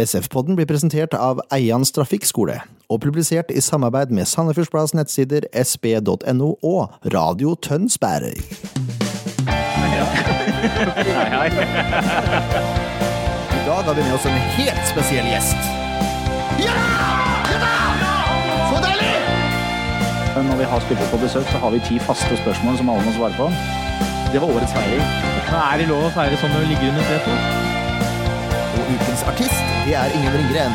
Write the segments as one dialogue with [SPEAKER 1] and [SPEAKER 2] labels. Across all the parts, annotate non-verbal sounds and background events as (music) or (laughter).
[SPEAKER 1] SF-podden blir presentert av Eians Trafikkskole og publisert i samarbeid med Sandefjords Blads nettsider sb.no og Radio Tønsberg. I dag har vi med oss en helt spesiell gjest.
[SPEAKER 2] Men når vi har spillere på besøk, så har vi ti faste spørsmål som alle må svare på. Det var årets feiring.
[SPEAKER 3] Men er det lov å feire sånn når du ligger under setet?
[SPEAKER 1] Og ukens artist, det er Ingen Ringgren.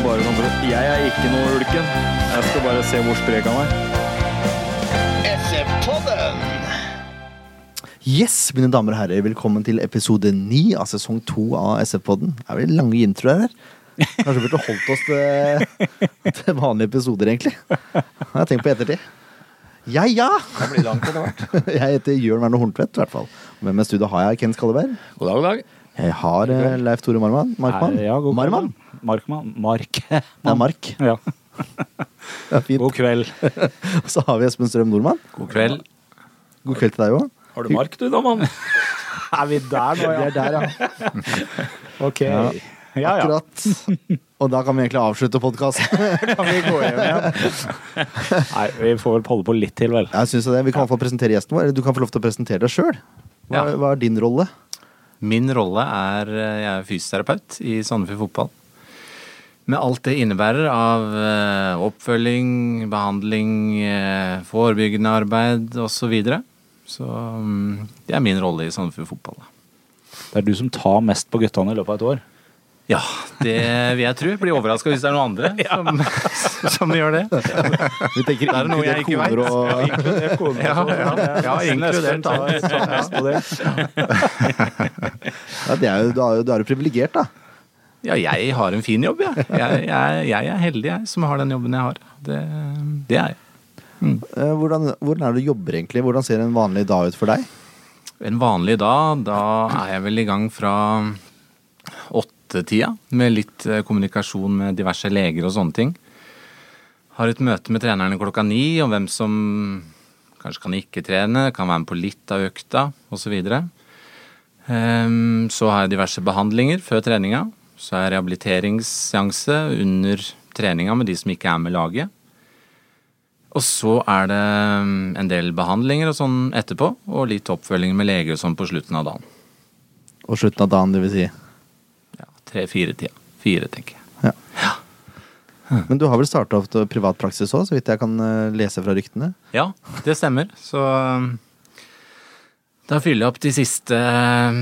[SPEAKER 4] Bare sånn for at Jeg er ikke noe ulken. Jeg skal bare se hvor sprek han er.
[SPEAKER 1] Yes, mine damer og herrer, velkommen til episode 9 av sesong 2 av SF-podden. Det er vel lange introer her. Kanskje vi burde holdt oss til, til vanlige episoder, egentlig. Det har jeg tenkt på i ettertid. Ja, ja!
[SPEAKER 5] Det blir langt etter hvert.
[SPEAKER 1] (laughs) Jeg heter Jørn Werner Horntvedt, i hvert fall. Og med meg i studio har jeg Ken Skalleberg.
[SPEAKER 5] God dag, god dag.
[SPEAKER 1] Jeg har eh, Leif Tore Marman. Markmann.
[SPEAKER 2] Nei, ja, god kveld.
[SPEAKER 1] Marman?
[SPEAKER 2] Markmann. Mark.
[SPEAKER 1] Det er Mark.
[SPEAKER 2] (laughs) Ja.
[SPEAKER 1] Det er fint.
[SPEAKER 2] God kveld.
[SPEAKER 1] Og (laughs) så har vi Espen Strøm Nordmann.
[SPEAKER 5] God kveld.
[SPEAKER 1] God kveld til deg òg.
[SPEAKER 5] Har du mark, du da, mann?
[SPEAKER 2] (laughs) Er vi der nå,
[SPEAKER 1] Vi er der, ja.
[SPEAKER 2] Ok. Ja, ja.
[SPEAKER 1] Akkurat. Og da kan vi egentlig avslutte
[SPEAKER 2] (laughs)
[SPEAKER 1] podkasten.
[SPEAKER 2] Kan vi gå hjem igjen? Nei, vi får vel holde på litt til, vel.
[SPEAKER 1] Jeg synes det. Vi kan i hvert fall presentere gjesten vår. Eller du kan få lov til å presentere deg sjøl. Hva,
[SPEAKER 5] Ja.
[SPEAKER 1] hva er din rolle?
[SPEAKER 5] Min rolle er eh, Jeg er fysioterapeut i Sandefjord fotball. Med alt det innebærer av eh, oppfølging, behandling, eh, forebyggende arbeid osv. Så, videre. så mm, det er min rolle i Sandefjord fotball. da.
[SPEAKER 2] Det er du som tar mest på guttene i løpet av et år.
[SPEAKER 5] Ja, (laughs) det vil jeg tro. Blir overraska hvis det er noen andre som, (laughs) som gjør det.
[SPEAKER 1] Vi tenker
[SPEAKER 5] Det er noe jeg
[SPEAKER 1] inkludert koner
[SPEAKER 5] ikke vet.
[SPEAKER 1] og
[SPEAKER 2] Inkludert kone.
[SPEAKER 5] Ja, ja, ja, inkludert, da.
[SPEAKER 1] ja, det er jo, Du er jo, du er jo privilegert, da.
[SPEAKER 5] Ja, jeg har en fin jobb, jeg. Jeg, jeg, jeg er heldig, jeg, som har den jobben jeg har. Det, det er jeg.
[SPEAKER 1] Eh, Hvordan, hvordan er det du jobber egentlig? Hvordan ser en vanlig dag ut for deg?
[SPEAKER 5] En vanlig dag, da er jeg vel i gang fra åttetida med litt eh, kommunikasjon med diverse leger og sånne ting. Har et møte med trenerne klokka ni om hvem som kanskje kan ikke trene, kan være med på litt av økta osv. Ehm, Så har jeg diverse behandlinger før treninga. Så er rehabiliteringsseanse under treninga med de som ikke er med laget. Og så er det mm, en del behandlinger og sånn etterpå, og litt oppfølging med leger og sånn på slutten av dagen.
[SPEAKER 1] Og slutten av dagen, det vil si.
[SPEAKER 5] Ja, Tre-fire tida. Fire, tenker jeg.
[SPEAKER 1] Men du har vel starta opp til privat praksis òg, så vidt jeg kan eh, lese fra ryktene?
[SPEAKER 5] Ja, det stemmer. Så um, da fyller jeg opp de siste um,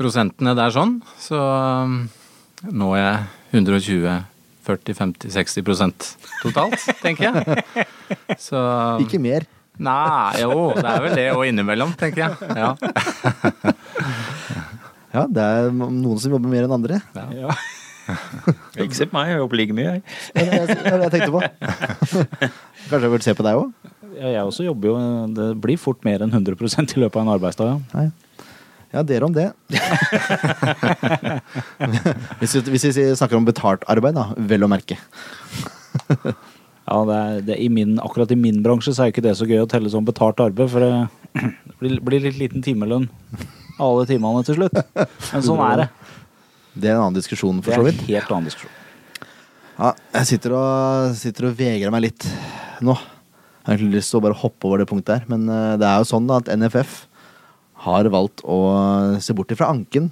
[SPEAKER 5] prosentene der sånn. Så um, når jeg 120 40, 50, 60 prosent totalt, tenker jeg. Så mm,
[SPEAKER 1] Ikke mer.
[SPEAKER 5] Nei, jo, det er vel det, og innimellom, tenker jeg. Ja.
[SPEAKER 1] Ja, det er noen som jobber mer enn andre.
[SPEAKER 4] Ikke se på meg, jeg jobber like mye, jeg.
[SPEAKER 1] Det er det jeg- det er det jeg tenkte på.
[SPEAKER 5] (laughs)
[SPEAKER 1] Kanskje jeg burde se på deg òg?
[SPEAKER 2] Ja, jeg også jobber jo Det blir fort mer enn 100 i løpet av en arbeidsdag. Ja.
[SPEAKER 1] Nei. Ja, dere om
[SPEAKER 2] (laughs)
[SPEAKER 1] det. hvis, vi, hvis vi snakker om betalt arbeid, da, vel å merke.
[SPEAKER 2] Ja, det er, det, i min, akkurat i min bransje så er jo ikke det så gøy å telle som betalt arbeid, for det (clears throat) blir, blir litt liten timelønn alle timene til slutt. Men sånn er det.
[SPEAKER 1] Det er en annen diskusjon,
[SPEAKER 2] Det
[SPEAKER 1] for
[SPEAKER 2] er
[SPEAKER 1] så
[SPEAKER 2] en
[SPEAKER 1] vidt.
[SPEAKER 2] helt annen diskusjon.
[SPEAKER 1] Ja, jeg sitter og, sitter og vegrer meg litt nå. Jeg har egentlig lyst til å bare hoppe over det punktet her, men eh, det er jo sånn da at NFF har valgt å se bort ifra anken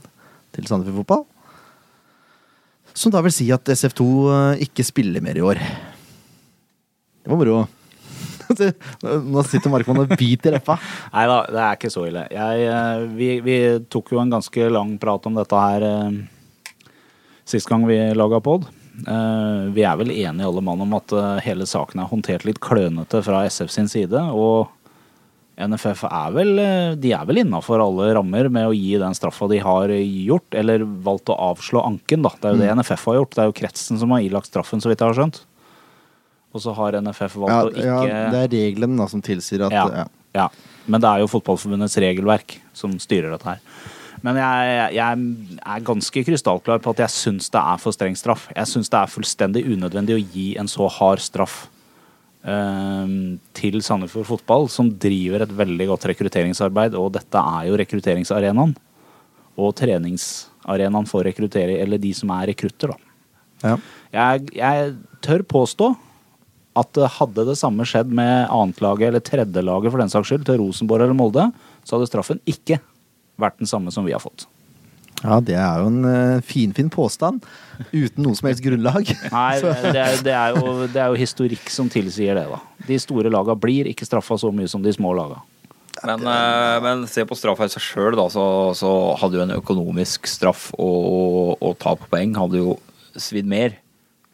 [SPEAKER 1] til Sandefjord Fotball. Som da vil si at SF2 eh, ikke spiller mer i år. Det var moro. (laughs) Nå sitter Markmann og biter leppa.
[SPEAKER 2] Nei da, det er ikke så ille. Jeg, eh, vi, vi tok jo en ganske lang prat om dette her eh, sist gang vi laga pod. Eh, vi er vel enige alle mann om at eh, hele saken er håndtert litt klønete fra SF sin side. Og NFF er vel, eh, de er vel innafor alle rammer med å gi den straffa de har gjort, eller valgt å avslå anken, da. Det er jo
[SPEAKER 1] Mm.
[SPEAKER 2] det NFF har gjort. Det er jo kretsen som har ilagt straffen, så vidt jeg har skjønt. Og så har NFF valgt
[SPEAKER 1] Ja,
[SPEAKER 2] å ikke
[SPEAKER 1] ja, det er reglene da som tilsier at
[SPEAKER 2] ja.
[SPEAKER 1] ja.
[SPEAKER 2] ja. Men det er jo Fotballforbundets regelverk som styrer dette her. Men jeg, jeg er ganske krystallklar på at jeg syns det er for streng straff. Jeg syns det er fullstendig unødvendig å gi en så hard straff eh, til Sandefjord Fotball, som driver et veldig godt rekrutteringsarbeid. Og dette er jo rekrutteringsarenaen og trenings, arenaen for rekruttere, eller de som er rekrutter, da.
[SPEAKER 1] Ja.
[SPEAKER 2] Jeg, jeg tør påstå at eh, hadde det samme skjedd med annetlaget eller tredjelaget for den saks skyld, til Rosenborg eller Molde, så hadde straffen ikke vært den samme som vi har fått.
[SPEAKER 1] ja, det er jo en eh, finfin påstand. Uten noe som helst grunnlag.
[SPEAKER 2] (laughs) Nei,
[SPEAKER 1] Så-
[SPEAKER 2] det er, det, er jo, det er jo historikk som tilsier det, da. De store laga blir ikke straffa så mye som de små laga.
[SPEAKER 4] Men, eh, men se på straffa i seg sjøl, da. Så, så hadde jo en økonomisk straff og, og, og tap av poeng hadde jo svidd mer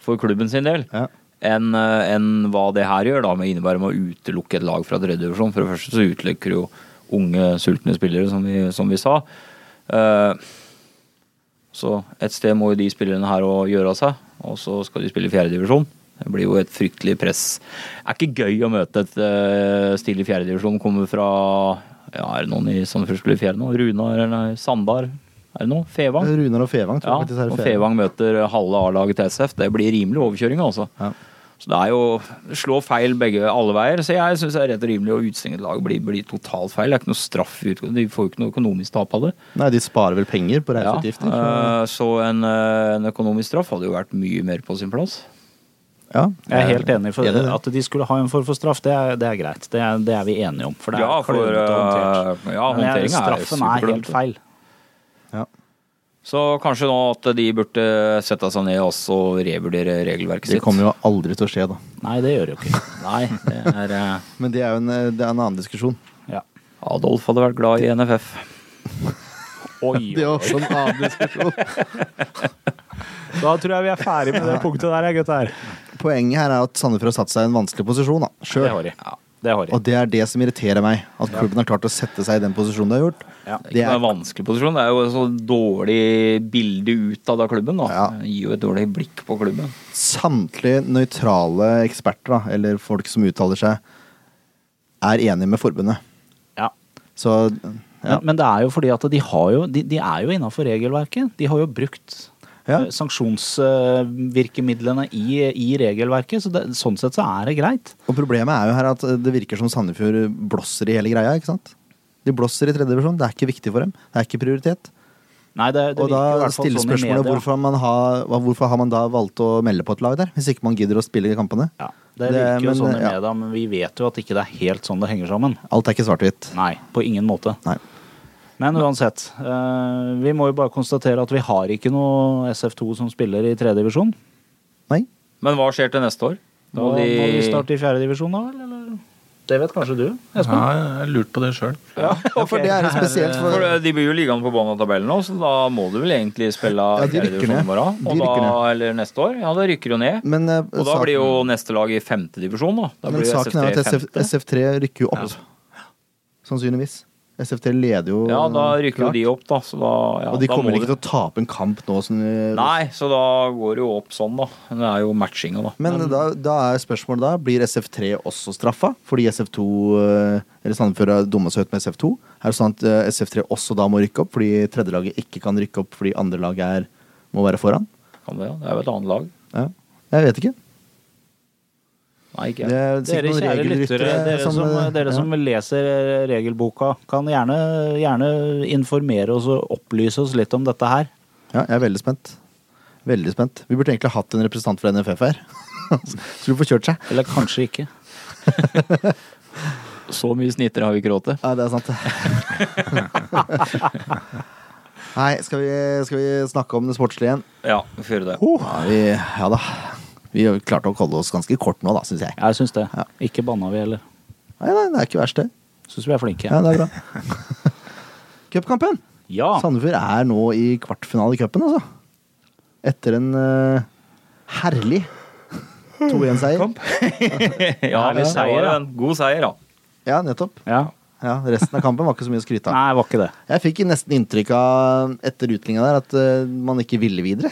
[SPEAKER 4] for klubben sin del
[SPEAKER 1] Ja.
[SPEAKER 4] enn eh, enn hva det her gjør, da, med innebærer med å utelukke et lag fra tredje divisjon. For det første så utelukker jo unge, sultne spillere, som vi, som vi sa. Eh, så et sted må jo de spillerne her å gjøre av seg, og så skal de spille i fjerde divisjon. Det blir jo et fryktelig press. Det er ikke gøy å møte et eh, stille i fjerde divisjon. Kommer fra ja, er det noen i Sandefjord skulle i fjerde nå? Runar eller Sandar? Er det noe? Fevang?
[SPEAKER 1] Runar og Fevang,
[SPEAKER 4] Ja,
[SPEAKER 1] tror jeg faktisk er
[SPEAKER 4] og
[SPEAKER 1] det
[SPEAKER 4] Fevang møter eh, halve A-laget til SF. Det blir rimelig overkjøring, altså.
[SPEAKER 1] Ja.
[SPEAKER 4] Så det er jo slå feil begge alle veier. Så jeg syns det er rett og rimelig å utestenge et lag. Blir, blir totalt feil. Det er ikke noe straff i utgangspunktet. De får jo ikke noe økonomisk tap av det.
[SPEAKER 1] Nei, de sparer vel penger på reiseutgifter. så-
[SPEAKER 4] eh, så en, eh, en økonomisk straff hadde jo vært mye mer på sin plass.
[SPEAKER 1] Ja,
[SPEAKER 2] Jeg er helt Eh, enig for
[SPEAKER 1] Enig i det.
[SPEAKER 2] At de skulle ha en form for straff, det er, det er greit. Det er, det er vi enige om. For det er
[SPEAKER 4] Ja, for,
[SPEAKER 2] klønete
[SPEAKER 4] eh,
[SPEAKER 2] håndtert.
[SPEAKER 4] ja,
[SPEAKER 2] Men jeg-
[SPEAKER 4] håndteringen er
[SPEAKER 2] straffen er,
[SPEAKER 4] superklønete.
[SPEAKER 2] helt feil.
[SPEAKER 4] Så kanskje nå at de burde sette seg ned og også revurdere regelverket
[SPEAKER 1] Det
[SPEAKER 4] sitt.
[SPEAKER 1] kommer jo aldri til å skje, da.
[SPEAKER 2] Nei, det gjør det jo ikke.
[SPEAKER 4] Nei, det er eh,
[SPEAKER 1] Men det er jo en, det er en annen diskusjon.
[SPEAKER 2] Ja.
[SPEAKER 4] Adolf hadde vært glad i NFF.
[SPEAKER 2] Oi,
[SPEAKER 1] Det er også en annen diskusjon. (laughs)
[SPEAKER 2] Da tror jeg vi er ferdig med det punktet der, gutter.
[SPEAKER 1] Poenget her er at Sandefjord har satt seg i en vanskelig posisjon da,
[SPEAKER 2] Det
[SPEAKER 1] sjøl.
[SPEAKER 2] har de. Det har de.
[SPEAKER 1] Og det er det som irriterer meg. At klubben har klart å sette seg i den posisjonen de har gjort.
[SPEAKER 2] Ja.
[SPEAKER 1] Det
[SPEAKER 4] Det er
[SPEAKER 1] er,
[SPEAKER 4] en vanskelig posisjon. Det er jo et så dårlig bilde utad av klubben. Da.
[SPEAKER 1] Ja.
[SPEAKER 4] Det gir jo et dårlig blikk på klubben.
[SPEAKER 1] samtlige nøytrale eksperter, da, eller folk som uttaler seg, er enige med forbundet.
[SPEAKER 2] Ja.
[SPEAKER 1] Så ja.
[SPEAKER 2] Men, men det er jo fordi at de, har jo, de, de er jo innafor regelverket. De har jo brukt eh,
[SPEAKER 1] Ja.
[SPEAKER 2] sanksjonsvirkemidlene i, i regelverket, så det, sånn sett så er det greit.
[SPEAKER 1] Og problemet er jo her at det virker som Sandefjord blåser i hele greia, ikke sant? De blåser i tredje divisjon. Det er ikke viktig for dem. Det er ikke prioritet.
[SPEAKER 2] Nei, det, det
[SPEAKER 1] Og
[SPEAKER 2] virker i
[SPEAKER 1] da
[SPEAKER 2] hvert fall
[SPEAKER 1] stiller
[SPEAKER 2] sånn i
[SPEAKER 1] spørsmålet
[SPEAKER 2] media.
[SPEAKER 1] hvorfor, man har, hva- hvorfor har man da valgt å melde på et lag der, hvis ikke man gidder å spille de kampene?
[SPEAKER 2] Ja, det
[SPEAKER 1] Det-
[SPEAKER 2] virker jo
[SPEAKER 1] men,
[SPEAKER 2] sånn i
[SPEAKER 1] ja.
[SPEAKER 2] media, men vi vet jo at ikke det er helt sånn det henger sammen.
[SPEAKER 1] Alt er ikke svart-hvitt.
[SPEAKER 2] Nei, på ingen måte.
[SPEAKER 1] Nei.
[SPEAKER 2] Men uansett, eh, vi må jo bare konstatere at vi har ikke noe SF2 som spiller i tredje divisjon.
[SPEAKER 4] (laughs)
[SPEAKER 1] Nei.
[SPEAKER 4] Men hva skjer til neste år?
[SPEAKER 2] Da må vi starte i fjerde divisjon da, vel, eller? Det vet kanskje du,
[SPEAKER 5] Ja,
[SPEAKER 2] Espen?
[SPEAKER 5] jeg har lurt på det sjøl.
[SPEAKER 1] Ja, for det er jo spesielt.
[SPEAKER 4] For
[SPEAKER 1] For,
[SPEAKER 4] eh, de blir jo liggende på bånn av tabellen nå, så da må du vel egentlig spille
[SPEAKER 1] Ja, de
[SPEAKER 4] fjerde
[SPEAKER 1] rykker
[SPEAKER 4] divisjon
[SPEAKER 1] ned.
[SPEAKER 4] i morgen.
[SPEAKER 1] De
[SPEAKER 4] Og da,
[SPEAKER 1] rykker
[SPEAKER 4] eller neste år. Ja, da rykker jo ned.
[SPEAKER 1] men, eh,
[SPEAKER 4] Og da
[SPEAKER 1] saken-
[SPEAKER 4] blir jo neste lag i femte divisjon, da. da
[SPEAKER 1] men
[SPEAKER 4] blir jo
[SPEAKER 1] saken er jo at
[SPEAKER 4] SF3
[SPEAKER 1] SF,
[SPEAKER 4] femte.
[SPEAKER 1] SF3 rykker jo opp. Sannsynligvis. SF3 leder jo
[SPEAKER 4] Ja, da rykker jo de opp, da. Så da ja,
[SPEAKER 1] Og de
[SPEAKER 4] da
[SPEAKER 1] kommer
[SPEAKER 4] må
[SPEAKER 1] ikke
[SPEAKER 4] du-
[SPEAKER 1] til å tape en kamp nå. Som,
[SPEAKER 4] Nei, så da går det jo opp sånn, da. Det er jo matchinga, da.
[SPEAKER 1] Men da, da er spørsmålet da Blir SF3 også straffa fordi SF2 eh, Eller Sandefjord har dumma seg ut med SF2? Er det sånn at eh, SF3 også da må rykke opp fordi tredjelaget ikke kan rykke opp fordi andre lag er, må være foran?
[SPEAKER 4] Kan det, ja. det er jo et annet lag.
[SPEAKER 1] Ja. Jeg vet ikke.
[SPEAKER 4] Nei, ikke
[SPEAKER 1] Det
[SPEAKER 4] jeg.
[SPEAKER 1] er
[SPEAKER 2] Dere
[SPEAKER 1] sikkert noen
[SPEAKER 2] kjære lyttere,
[SPEAKER 1] regelryttere
[SPEAKER 2] dere som,
[SPEAKER 1] eh,
[SPEAKER 2] dere
[SPEAKER 1] ja.
[SPEAKER 2] som leser eh, regelboka, kan gjerne, gjerne informere oss og opplyse oss litt om dette her.
[SPEAKER 1] Ja, jeg er veldig spent. Veldig spent. Vi burde egentlig hatt en representant fra NFF her. (laughs) Skulle få kjørt seg.
[SPEAKER 2] Eller kanskje ikke.
[SPEAKER 4] Så mye snitter har vi ikke råd til.
[SPEAKER 1] Ja, det
[SPEAKER 2] (laughs)
[SPEAKER 1] er sant. Nei, skal vi, skal vi snakke om det sportslige igjen?
[SPEAKER 4] Ja, vi får gjøre det.
[SPEAKER 1] Ja, vi, ja da. Vi har klarte å holde oss ganske kort nå, da, syns jeg.
[SPEAKER 2] Jeg syns det.
[SPEAKER 1] Ja.
[SPEAKER 2] Ikke banna vi heller.
[SPEAKER 1] Nei, nei, det er ikke verst, det.
[SPEAKER 2] Syns vi er flinke.
[SPEAKER 1] Ja, det er bra. (laughs) Cupkampen!
[SPEAKER 2] Ja,
[SPEAKER 1] Sandefjord er nå i kvartfinale i cupen, altså. Etter en eh, herlig 2-1-seier.
[SPEAKER 4] (laughs) Ja, det
[SPEAKER 2] Herlig seier,
[SPEAKER 4] var
[SPEAKER 2] da.
[SPEAKER 4] en god seier, da.
[SPEAKER 1] Ja, nettopp.
[SPEAKER 2] ja.
[SPEAKER 1] Ja, resten av kampen var ikke så mye å skryte av.
[SPEAKER 2] Nei, var ikke det.
[SPEAKER 1] Jeg fikk nesten inntrykk av etter utlinga der at eh, man ikke ville videre.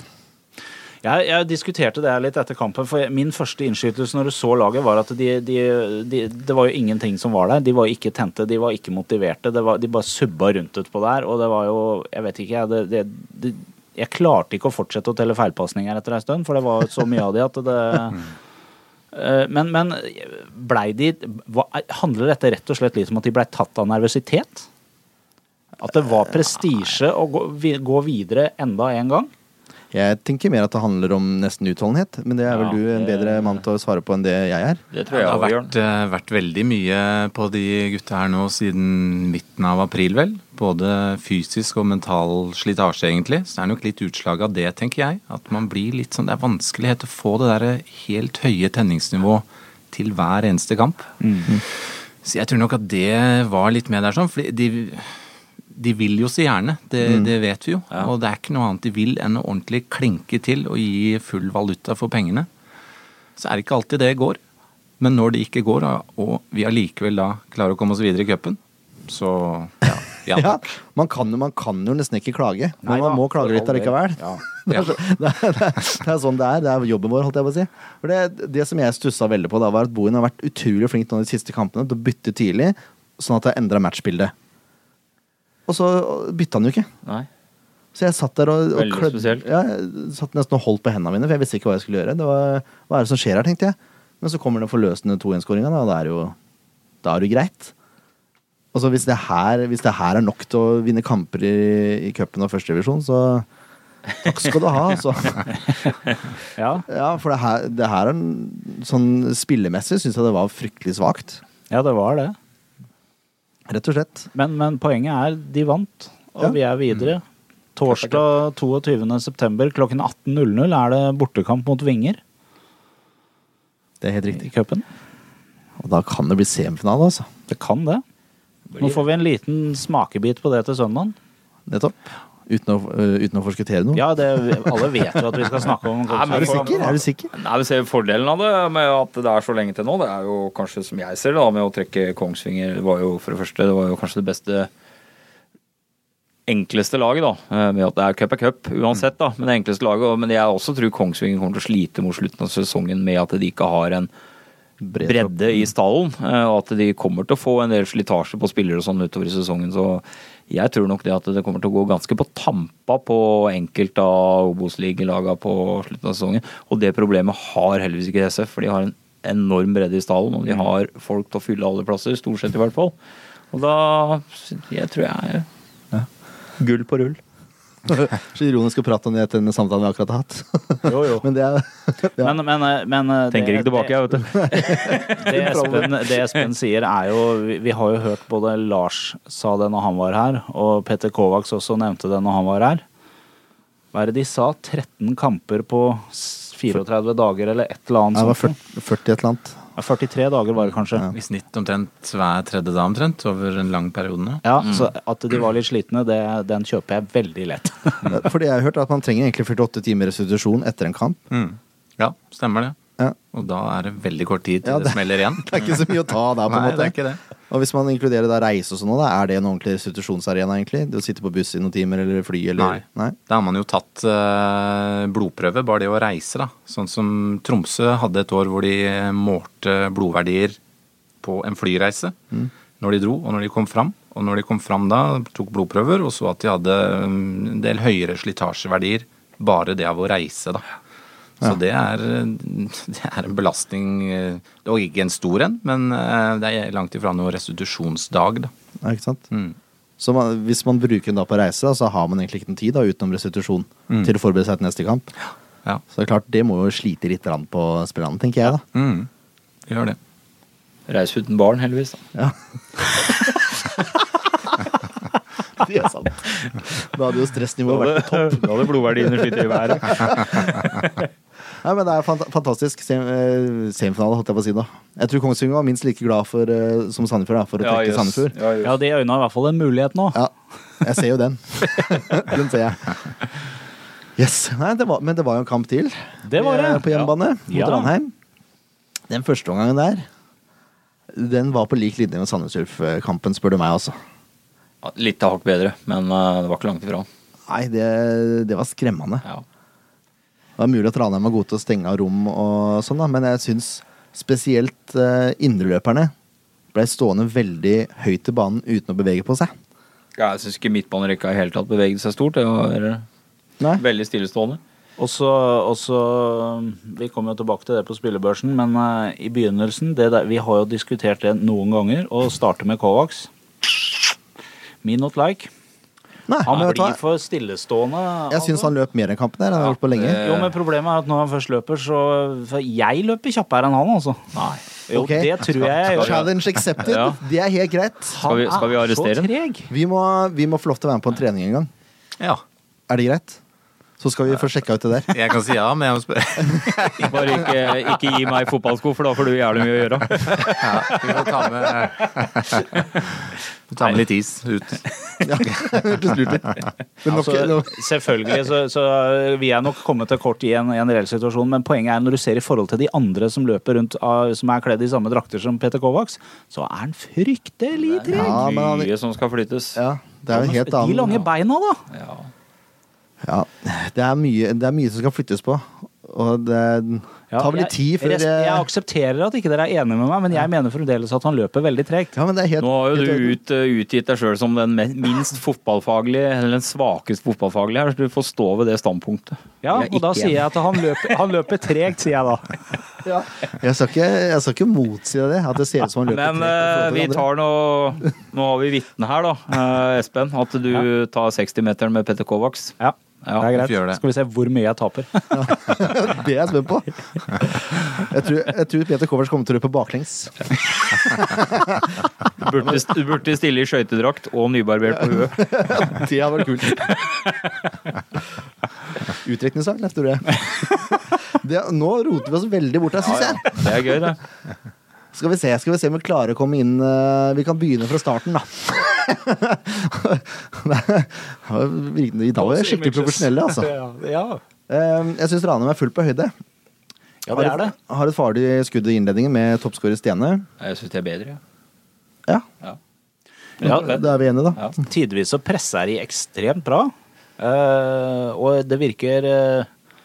[SPEAKER 2] Jeg, jeg diskuterte det her litt etter kampen, for min første innskytelse når du så laget, var at de, de, de, det var jo ingenting som var der. De var ikke tente, de var ikke motiverte. Det var, de bare subba rundt utpå der, og det var jo Jeg vet ikke, jeg. Det, det, det, jeg klarte ikke å fortsette å telle feilpasninger etter ei stund, for det var så mye av de at det Eh, Men, men blei de hva, Handler dette rett og slett litt om at de blei tatt av nervøsitet? At det var prestisje å gå, vi, gå videre enda en gang?
[SPEAKER 1] Jeg tenker mer at det handler om nesten utholdenhet, men det er vel
[SPEAKER 4] Ja,
[SPEAKER 1] du en
[SPEAKER 4] det-
[SPEAKER 1] bedre mann til å svare på enn det jeg er.
[SPEAKER 4] Det tror
[SPEAKER 5] Det
[SPEAKER 4] jeg
[SPEAKER 5] har
[SPEAKER 4] òg, Jørn.
[SPEAKER 5] vært, eh, vært veldig mye på de gutta her nå siden midten av april, vel. Både fysisk og mental slitasje, egentlig. Så det er nok litt utslag av det, tenker jeg. At man blir litt sånn Det er vanskelighet å få det derre helt høye tenningsnivå til hver eneste kamp. Så jeg tror nok at det var litt med der sånn. For de, de vil jo så gjerne, det,
[SPEAKER 1] Mm.
[SPEAKER 5] det vet vi jo. Og det er ikke noe annet de vil enn å ordentlig klinke til og gi full valuta for pengene så er det ikke alltid det går. Men når det ikke går, da, og vi allikevel da klarer å komme oss videre i cupen, så ja, ja.
[SPEAKER 1] (laughs) Ja, man kan, jo- man kan jo nesten ikke klage, men
[SPEAKER 2] Nei da,
[SPEAKER 1] man må
[SPEAKER 2] for
[SPEAKER 1] klage litt
[SPEAKER 2] all del.
[SPEAKER 1] allikevel.
[SPEAKER 2] Ja.
[SPEAKER 1] Det, er, så- (laughs) det, er, det, er, det er sånn det er. Det er jobben vår, holdt jeg på å si. For det, det som jeg stussa veldig på, da, var at Bohin har vært utrolig flink nå de siste kampene til å bytte tidlig, sånn at det har endra matchbildet. Og så bytta han jo ikke.
[SPEAKER 4] Nei.
[SPEAKER 1] Så jeg satt der og, og
[SPEAKER 4] Veldig
[SPEAKER 1] klødde-
[SPEAKER 4] spesielt.
[SPEAKER 1] Ja, jeg satt nesten og holdt på hendene mine, for jeg visste ikke hva jeg skulle gjøre. Det var, hva er det som skjer her, tenkte jeg. Men så kommer den forløsende 2-1-skåringa, og da er det jo da er det jo greit. Og så hvis det, her, hvis det her er nok til å vinne kamper i, i cupen og førstedivisjon, så takk skal du ha. Altså.
[SPEAKER 4] (laughs)
[SPEAKER 2] Ja.
[SPEAKER 1] Ja, for det her, det her er en- sånn spillemessig syns jeg det var fryktelig svakt.
[SPEAKER 2] ja, det var det.
[SPEAKER 1] Rett og slett.
[SPEAKER 2] Men, men poenget er, de vant, og
[SPEAKER 1] Ja. Mm.
[SPEAKER 2] vi er videre. Torsdag 22.9. klokken 18.00 er det bortekamp mot Vinger
[SPEAKER 1] Det er helt
[SPEAKER 2] i
[SPEAKER 1] riktig.
[SPEAKER 2] cupen.
[SPEAKER 1] Og da kan det bli semifinale, altså.
[SPEAKER 2] Det kan det. Nå får vi en liten smakebit på det til søndagen.
[SPEAKER 1] Nettopp. Uten å, øh, uten å forskuttere noe.
[SPEAKER 2] Ja, det, alle vet jo at vi skal snakke (laughs) om
[SPEAKER 4] Nei, men
[SPEAKER 1] Er du
[SPEAKER 4] for-
[SPEAKER 2] Kongsvinger.
[SPEAKER 1] sikker? Er du sikker?
[SPEAKER 4] Nei, vi ser Fordelen av det med at det er så lenge til nå, det er jo kanskje som jeg ser det, da, med å trekke Kongsvinger Det var jo for det første det var jo kanskje det beste enkleste laget, da. eh, Med at det er cup er cup uansett, da. Men det enkleste laget. og- Men jeg også tror Kongsvinger kommer til å slite mot slutten av sesongen med at de ikke har en bredde i stallen, eh, og at de kommer til å få en del slitasje på spillere og sånn utover i sesongen. Så jeg tror nok det at det kommer til å gå ganske på tampa på enkelte av Obos-ligalagene på slutten av sesongen. Og det problemet har heldigvis ikke SF, for de har en enorm bredde i stallen, og de har folk til å fylle alle plasser, stort sett i hvert fall. Og da jeg tror jeg Gull på rull.
[SPEAKER 1] (laughs) Så ironisk å prate om det etter den samtalen vi akkurat har hatt.
[SPEAKER 2] Jo, jo.
[SPEAKER 1] Men det er ja.
[SPEAKER 2] Men, men, eh, men eh,
[SPEAKER 4] Tenker
[SPEAKER 2] det-
[SPEAKER 4] ikke tilbake, jeg, vet du. (laughs)
[SPEAKER 2] Det Espen, det Espen sier er jo vi, vi har jo hørt både Lars sa det når han var her, og Petter Kovacs også nevnte det når han var her. Hva er det de sa? 13 kamper på s- 34 dager eller et eller annet?
[SPEAKER 1] Nei, det var
[SPEAKER 2] sånt.
[SPEAKER 1] 40, 40 et eller annet.
[SPEAKER 2] Ja, 43 dager var det kanskje.
[SPEAKER 1] Ja.
[SPEAKER 5] I snitt omtrent hver tredje dag omtrent, over en lang periode nå.
[SPEAKER 2] Ja,
[SPEAKER 4] Mm.
[SPEAKER 2] Så at de var litt slitne, det, den kjøper jeg veldig lett.
[SPEAKER 1] For det jeg har hørt, er at man trenger egentlig 48 timer restitusjon etter en kamp.
[SPEAKER 5] Ja, stemmer det.
[SPEAKER 1] Ja.
[SPEAKER 5] Og da er det veldig kort tid til
[SPEAKER 1] Ja,
[SPEAKER 5] det,
[SPEAKER 1] det-
[SPEAKER 5] smeller igjen.
[SPEAKER 1] (laughs) Det er ikke så mye å ta der, på en
[SPEAKER 5] Nei,
[SPEAKER 1] måte.
[SPEAKER 5] det er ikke det.
[SPEAKER 1] Og hvis man inkluderer da reise og sånn, da, er det en ordentlig restitusjonsarena, egentlig? Det å sitte på buss i noen timer, eller fly, eller
[SPEAKER 5] Nei. Da har man jo tatt eh, blodprøve, bare det å reise, da. Sånn som Tromsø hadde et år hvor de målte blodverdier på en flyreise. Når de dro, og når de kom fram. Og når de kom fram da, tok blodprøver, og så at de hadde mm, en del høyere slitasjeverdier bare det av å reise, da. Så det, er, (laughs) det er en belastning eh, Det var ikke en stor en, men eh, det er langt ifra noen restitusjonsdag, da.
[SPEAKER 1] Nei, ikke sant?
[SPEAKER 5] Mm.
[SPEAKER 1] Så man, hvis man bruker en dag på reise, da, så har man egentlig ikke noen tid da, utenom restitusjon
[SPEAKER 5] Mm.
[SPEAKER 1] til å forberede seg til neste kamp.
[SPEAKER 5] Ja.
[SPEAKER 1] Så det er klart, det må jo slite litt grann på spillerne, tenker jeg, da.
[SPEAKER 5] Mm. Gjør det.
[SPEAKER 4] Reis uten barn, heldigvis. Da.
[SPEAKER 1] Ja. (laughs) det er sant. Da hadde jo stressnivået vært på topp.
[SPEAKER 4] Da hadde blodverdiene skytt i været.
[SPEAKER 1] Nei, men Det er fant fantastisk. Sem eh, semifinale, holdt jeg på å si. da Jeg tror Kongsvinger var minst like glad for, eh, som Sandefjord da, for å
[SPEAKER 4] Ja,
[SPEAKER 1] trekke
[SPEAKER 4] jøss.
[SPEAKER 1] Sandefjord.
[SPEAKER 4] Ja, jøss.
[SPEAKER 2] Ja, De øyna i hvert fall en mulighet nå.
[SPEAKER 1] Ja, jeg ser jo den.
[SPEAKER 2] (laughs)
[SPEAKER 1] den ser jeg. Yes. Nei, det var, men det var jo en kamp til
[SPEAKER 2] Det var det.
[SPEAKER 1] eh, på hjemmebane mot
[SPEAKER 2] Ja.
[SPEAKER 1] Ranheim. Den første omgangen der, den var på lik linje med Sandnes-Ulf-kampen, spør du meg, altså.
[SPEAKER 4] Ja, Litt hakk bedre, men eh, det var ikke langt ifra.
[SPEAKER 1] Nei, det, det var skremmende.
[SPEAKER 4] Ja.
[SPEAKER 1] Det var mulig at Ranheim var gode til å stenge av rom, og sånn da, men jeg syns spesielt eh, indreløperne ble stående veldig høyt i banen uten å bevege på seg.
[SPEAKER 4] Ja, Jeg syns ikke midtbanerekka i hele tatt beveget seg stort. Det var
[SPEAKER 1] Nei.
[SPEAKER 4] veldig stillestående.
[SPEAKER 2] Og så, og så- Vi kommer jo tilbake til det på spillebørsen, men eh, i begynnelsen det der, Vi har jo diskutert det noen ganger, og starter med Kovacs. Me not like.
[SPEAKER 1] Nei,
[SPEAKER 2] Han
[SPEAKER 1] men vet du
[SPEAKER 2] blir
[SPEAKER 1] hva?
[SPEAKER 2] for stillestående.
[SPEAKER 1] Jeg syns han løp mer enn kampen der. Han har
[SPEAKER 4] Ja.
[SPEAKER 1] gjort på lenge.
[SPEAKER 2] Jo, men problemet er at når han først løper, så For jeg løper kjappere enn han, altså. Nei. Jo,
[SPEAKER 1] Ok.
[SPEAKER 2] det tror jeg jeg gjør.
[SPEAKER 1] Challenge accepted.
[SPEAKER 4] Ja.
[SPEAKER 1] Det er helt greit.
[SPEAKER 4] Skal vi- skal vi
[SPEAKER 2] Han er
[SPEAKER 4] arrestere
[SPEAKER 2] så
[SPEAKER 4] han?
[SPEAKER 2] treg.
[SPEAKER 1] Vi må, vi må få lov til å være med på en trening en gang.
[SPEAKER 5] Ja.
[SPEAKER 1] Er det greit? Så skal vi få sjekka ut det der.
[SPEAKER 5] Jeg kan si ja, men jeg må spørre.
[SPEAKER 4] Bare ikke, ikke gi meg fotballsko, for da får du jævlig mye å gjøre.
[SPEAKER 5] Vi må ta (laughs) med, ta med litt is ut.
[SPEAKER 1] Ja, hørtes lurt ut. (laughs) Men nok,
[SPEAKER 2] Altså,
[SPEAKER 1] nok-
[SPEAKER 2] selvfølgelig så, så vil jeg nok komme til kort i en, i en reell situasjon, men poenget er når du ser i forhold til de andre som løper rundt av, som er kledd i samme drakter som Peter Kovacs, så er han fryktelig treg.
[SPEAKER 1] Ja, men han-
[SPEAKER 4] Mye som skal flyttes.
[SPEAKER 1] ja, det er en helt annen
[SPEAKER 2] De lange beina, da.
[SPEAKER 4] Ja.
[SPEAKER 1] Ja, det er mye, det er mye som skal flyttes på. Og det
[SPEAKER 2] Ja,
[SPEAKER 1] tar vel litt tid
[SPEAKER 2] jeg-
[SPEAKER 1] før
[SPEAKER 2] res- Jeg
[SPEAKER 1] eh,
[SPEAKER 2] aksepterer at ikke dere er enige med meg, men jeg mener fremdeles at han løper veldig tregt.
[SPEAKER 1] Ja, men det er helt
[SPEAKER 4] Nå har jo
[SPEAKER 1] helt
[SPEAKER 4] du
[SPEAKER 1] orden.
[SPEAKER 4] ut, eh, utgitt deg sjøl som den me- minst fotballfaglige, eller den svakeste fotballfaglige her, så du får stå ved det standpunktet.
[SPEAKER 2] Ja,
[SPEAKER 4] Jeg er
[SPEAKER 2] og da
[SPEAKER 4] ikke
[SPEAKER 2] sier jeg at han løper, han løper tregt, sier jeg da.
[SPEAKER 1] Jeg skal ikke, jeg skal ikke motsi deg det, at det ser ut som han løper tregt
[SPEAKER 4] Men
[SPEAKER 1] i forhold til
[SPEAKER 4] eh,
[SPEAKER 1] de
[SPEAKER 4] vi
[SPEAKER 1] andre.
[SPEAKER 4] tar nå Nå har vi vitne her, da, eh, Espen. At du tar 60-meteren med Petter Kovacs.
[SPEAKER 2] Ja,
[SPEAKER 4] Ja,
[SPEAKER 2] det er
[SPEAKER 5] vi får gjøre
[SPEAKER 2] greit.
[SPEAKER 5] det.
[SPEAKER 2] Skal vi se hvor mye jeg taper.
[SPEAKER 1] (laughs) Det er jeg spent på. Jeg tror, jeg tror Peter Kovacs kommer til å løpe baklengs. (laughs)
[SPEAKER 4] Du burde, du burde stille i skøytedrakt og nybarbert på huet.
[SPEAKER 1] Det hadde vært kult. Utdrikningssak, Leif Tore. Det, nå roter vi oss veldig bort her, syns jeg.
[SPEAKER 4] Det er gøy, det.
[SPEAKER 1] Skal vi se skal vi se om vi klarer å komme inn eh, Vi kan begynne fra starten, da. (laughs) Nei, I dag er vi skikkelig profesjonelle, altså.
[SPEAKER 2] (laughs)
[SPEAKER 4] (laughs)
[SPEAKER 2] Ja,
[SPEAKER 1] Eh, Jeg syns Ranheim er fullt på høyde.
[SPEAKER 2] ja det er det.
[SPEAKER 1] Har et, har et farlig skudd i innledningen med toppskårer Stene.
[SPEAKER 4] Jeg syns det er bedre, jeg.
[SPEAKER 1] Ja,
[SPEAKER 2] Ja,
[SPEAKER 1] da er vi enige, da.
[SPEAKER 2] Tidvis så presser de ekstremt bra. Eh, og det virker eh,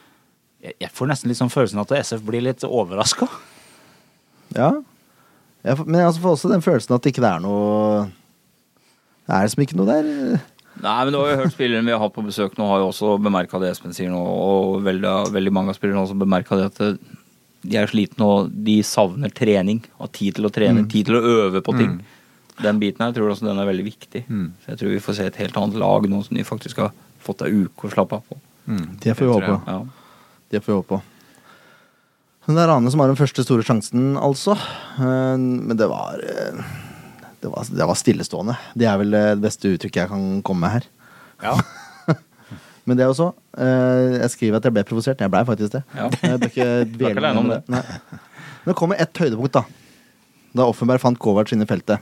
[SPEAKER 2] jeg- Jeg får nesten litt sånn følelsen at SF blir litt overraska.
[SPEAKER 1] Ja. Jeg, får- men jeg får også den følelsen at det ikke er noe Det er liksom ikke noe der.
[SPEAKER 4] Nei, men du har jo hørt spillerne vi har hatt på besøk nå, har jo også bemerka det Espen sier nå, og veldig, veldig mange av spillerne har også bemerka det at de er slitne og de savner trening. Og tid til å
[SPEAKER 2] Mm.
[SPEAKER 4] trene, tid til å øve på ting. Den biten her tror jeg også den er veldig viktig.
[SPEAKER 2] Mm.
[SPEAKER 4] Så jeg tror vi får se et helt annet lag nå som de faktisk har fått ei uke å slappe av på.
[SPEAKER 2] Mm,
[SPEAKER 1] Det får vi håpe.
[SPEAKER 4] Ja.
[SPEAKER 1] Det får vi håpe på. Men det er Rane som har den første store sjansen, altså. Eh, Men det var eh, Det var, det var stillestående. Det er vel eh, det beste uttrykket jeg kan komme med her.
[SPEAKER 2] Ja.
[SPEAKER 1] Men det er jo så. eh, Jeg skriver at jeg ble provosert. Jeg blei faktisk det.
[SPEAKER 4] Ja.
[SPEAKER 1] (laughs) Jeg bør ikke
[SPEAKER 4] Du er ikke
[SPEAKER 1] dvele
[SPEAKER 4] alene om
[SPEAKER 1] med
[SPEAKER 4] det.
[SPEAKER 1] Nei. Men det kommer ett høydepunkt, da. Da Offenberg fant Kovac inne i feltet.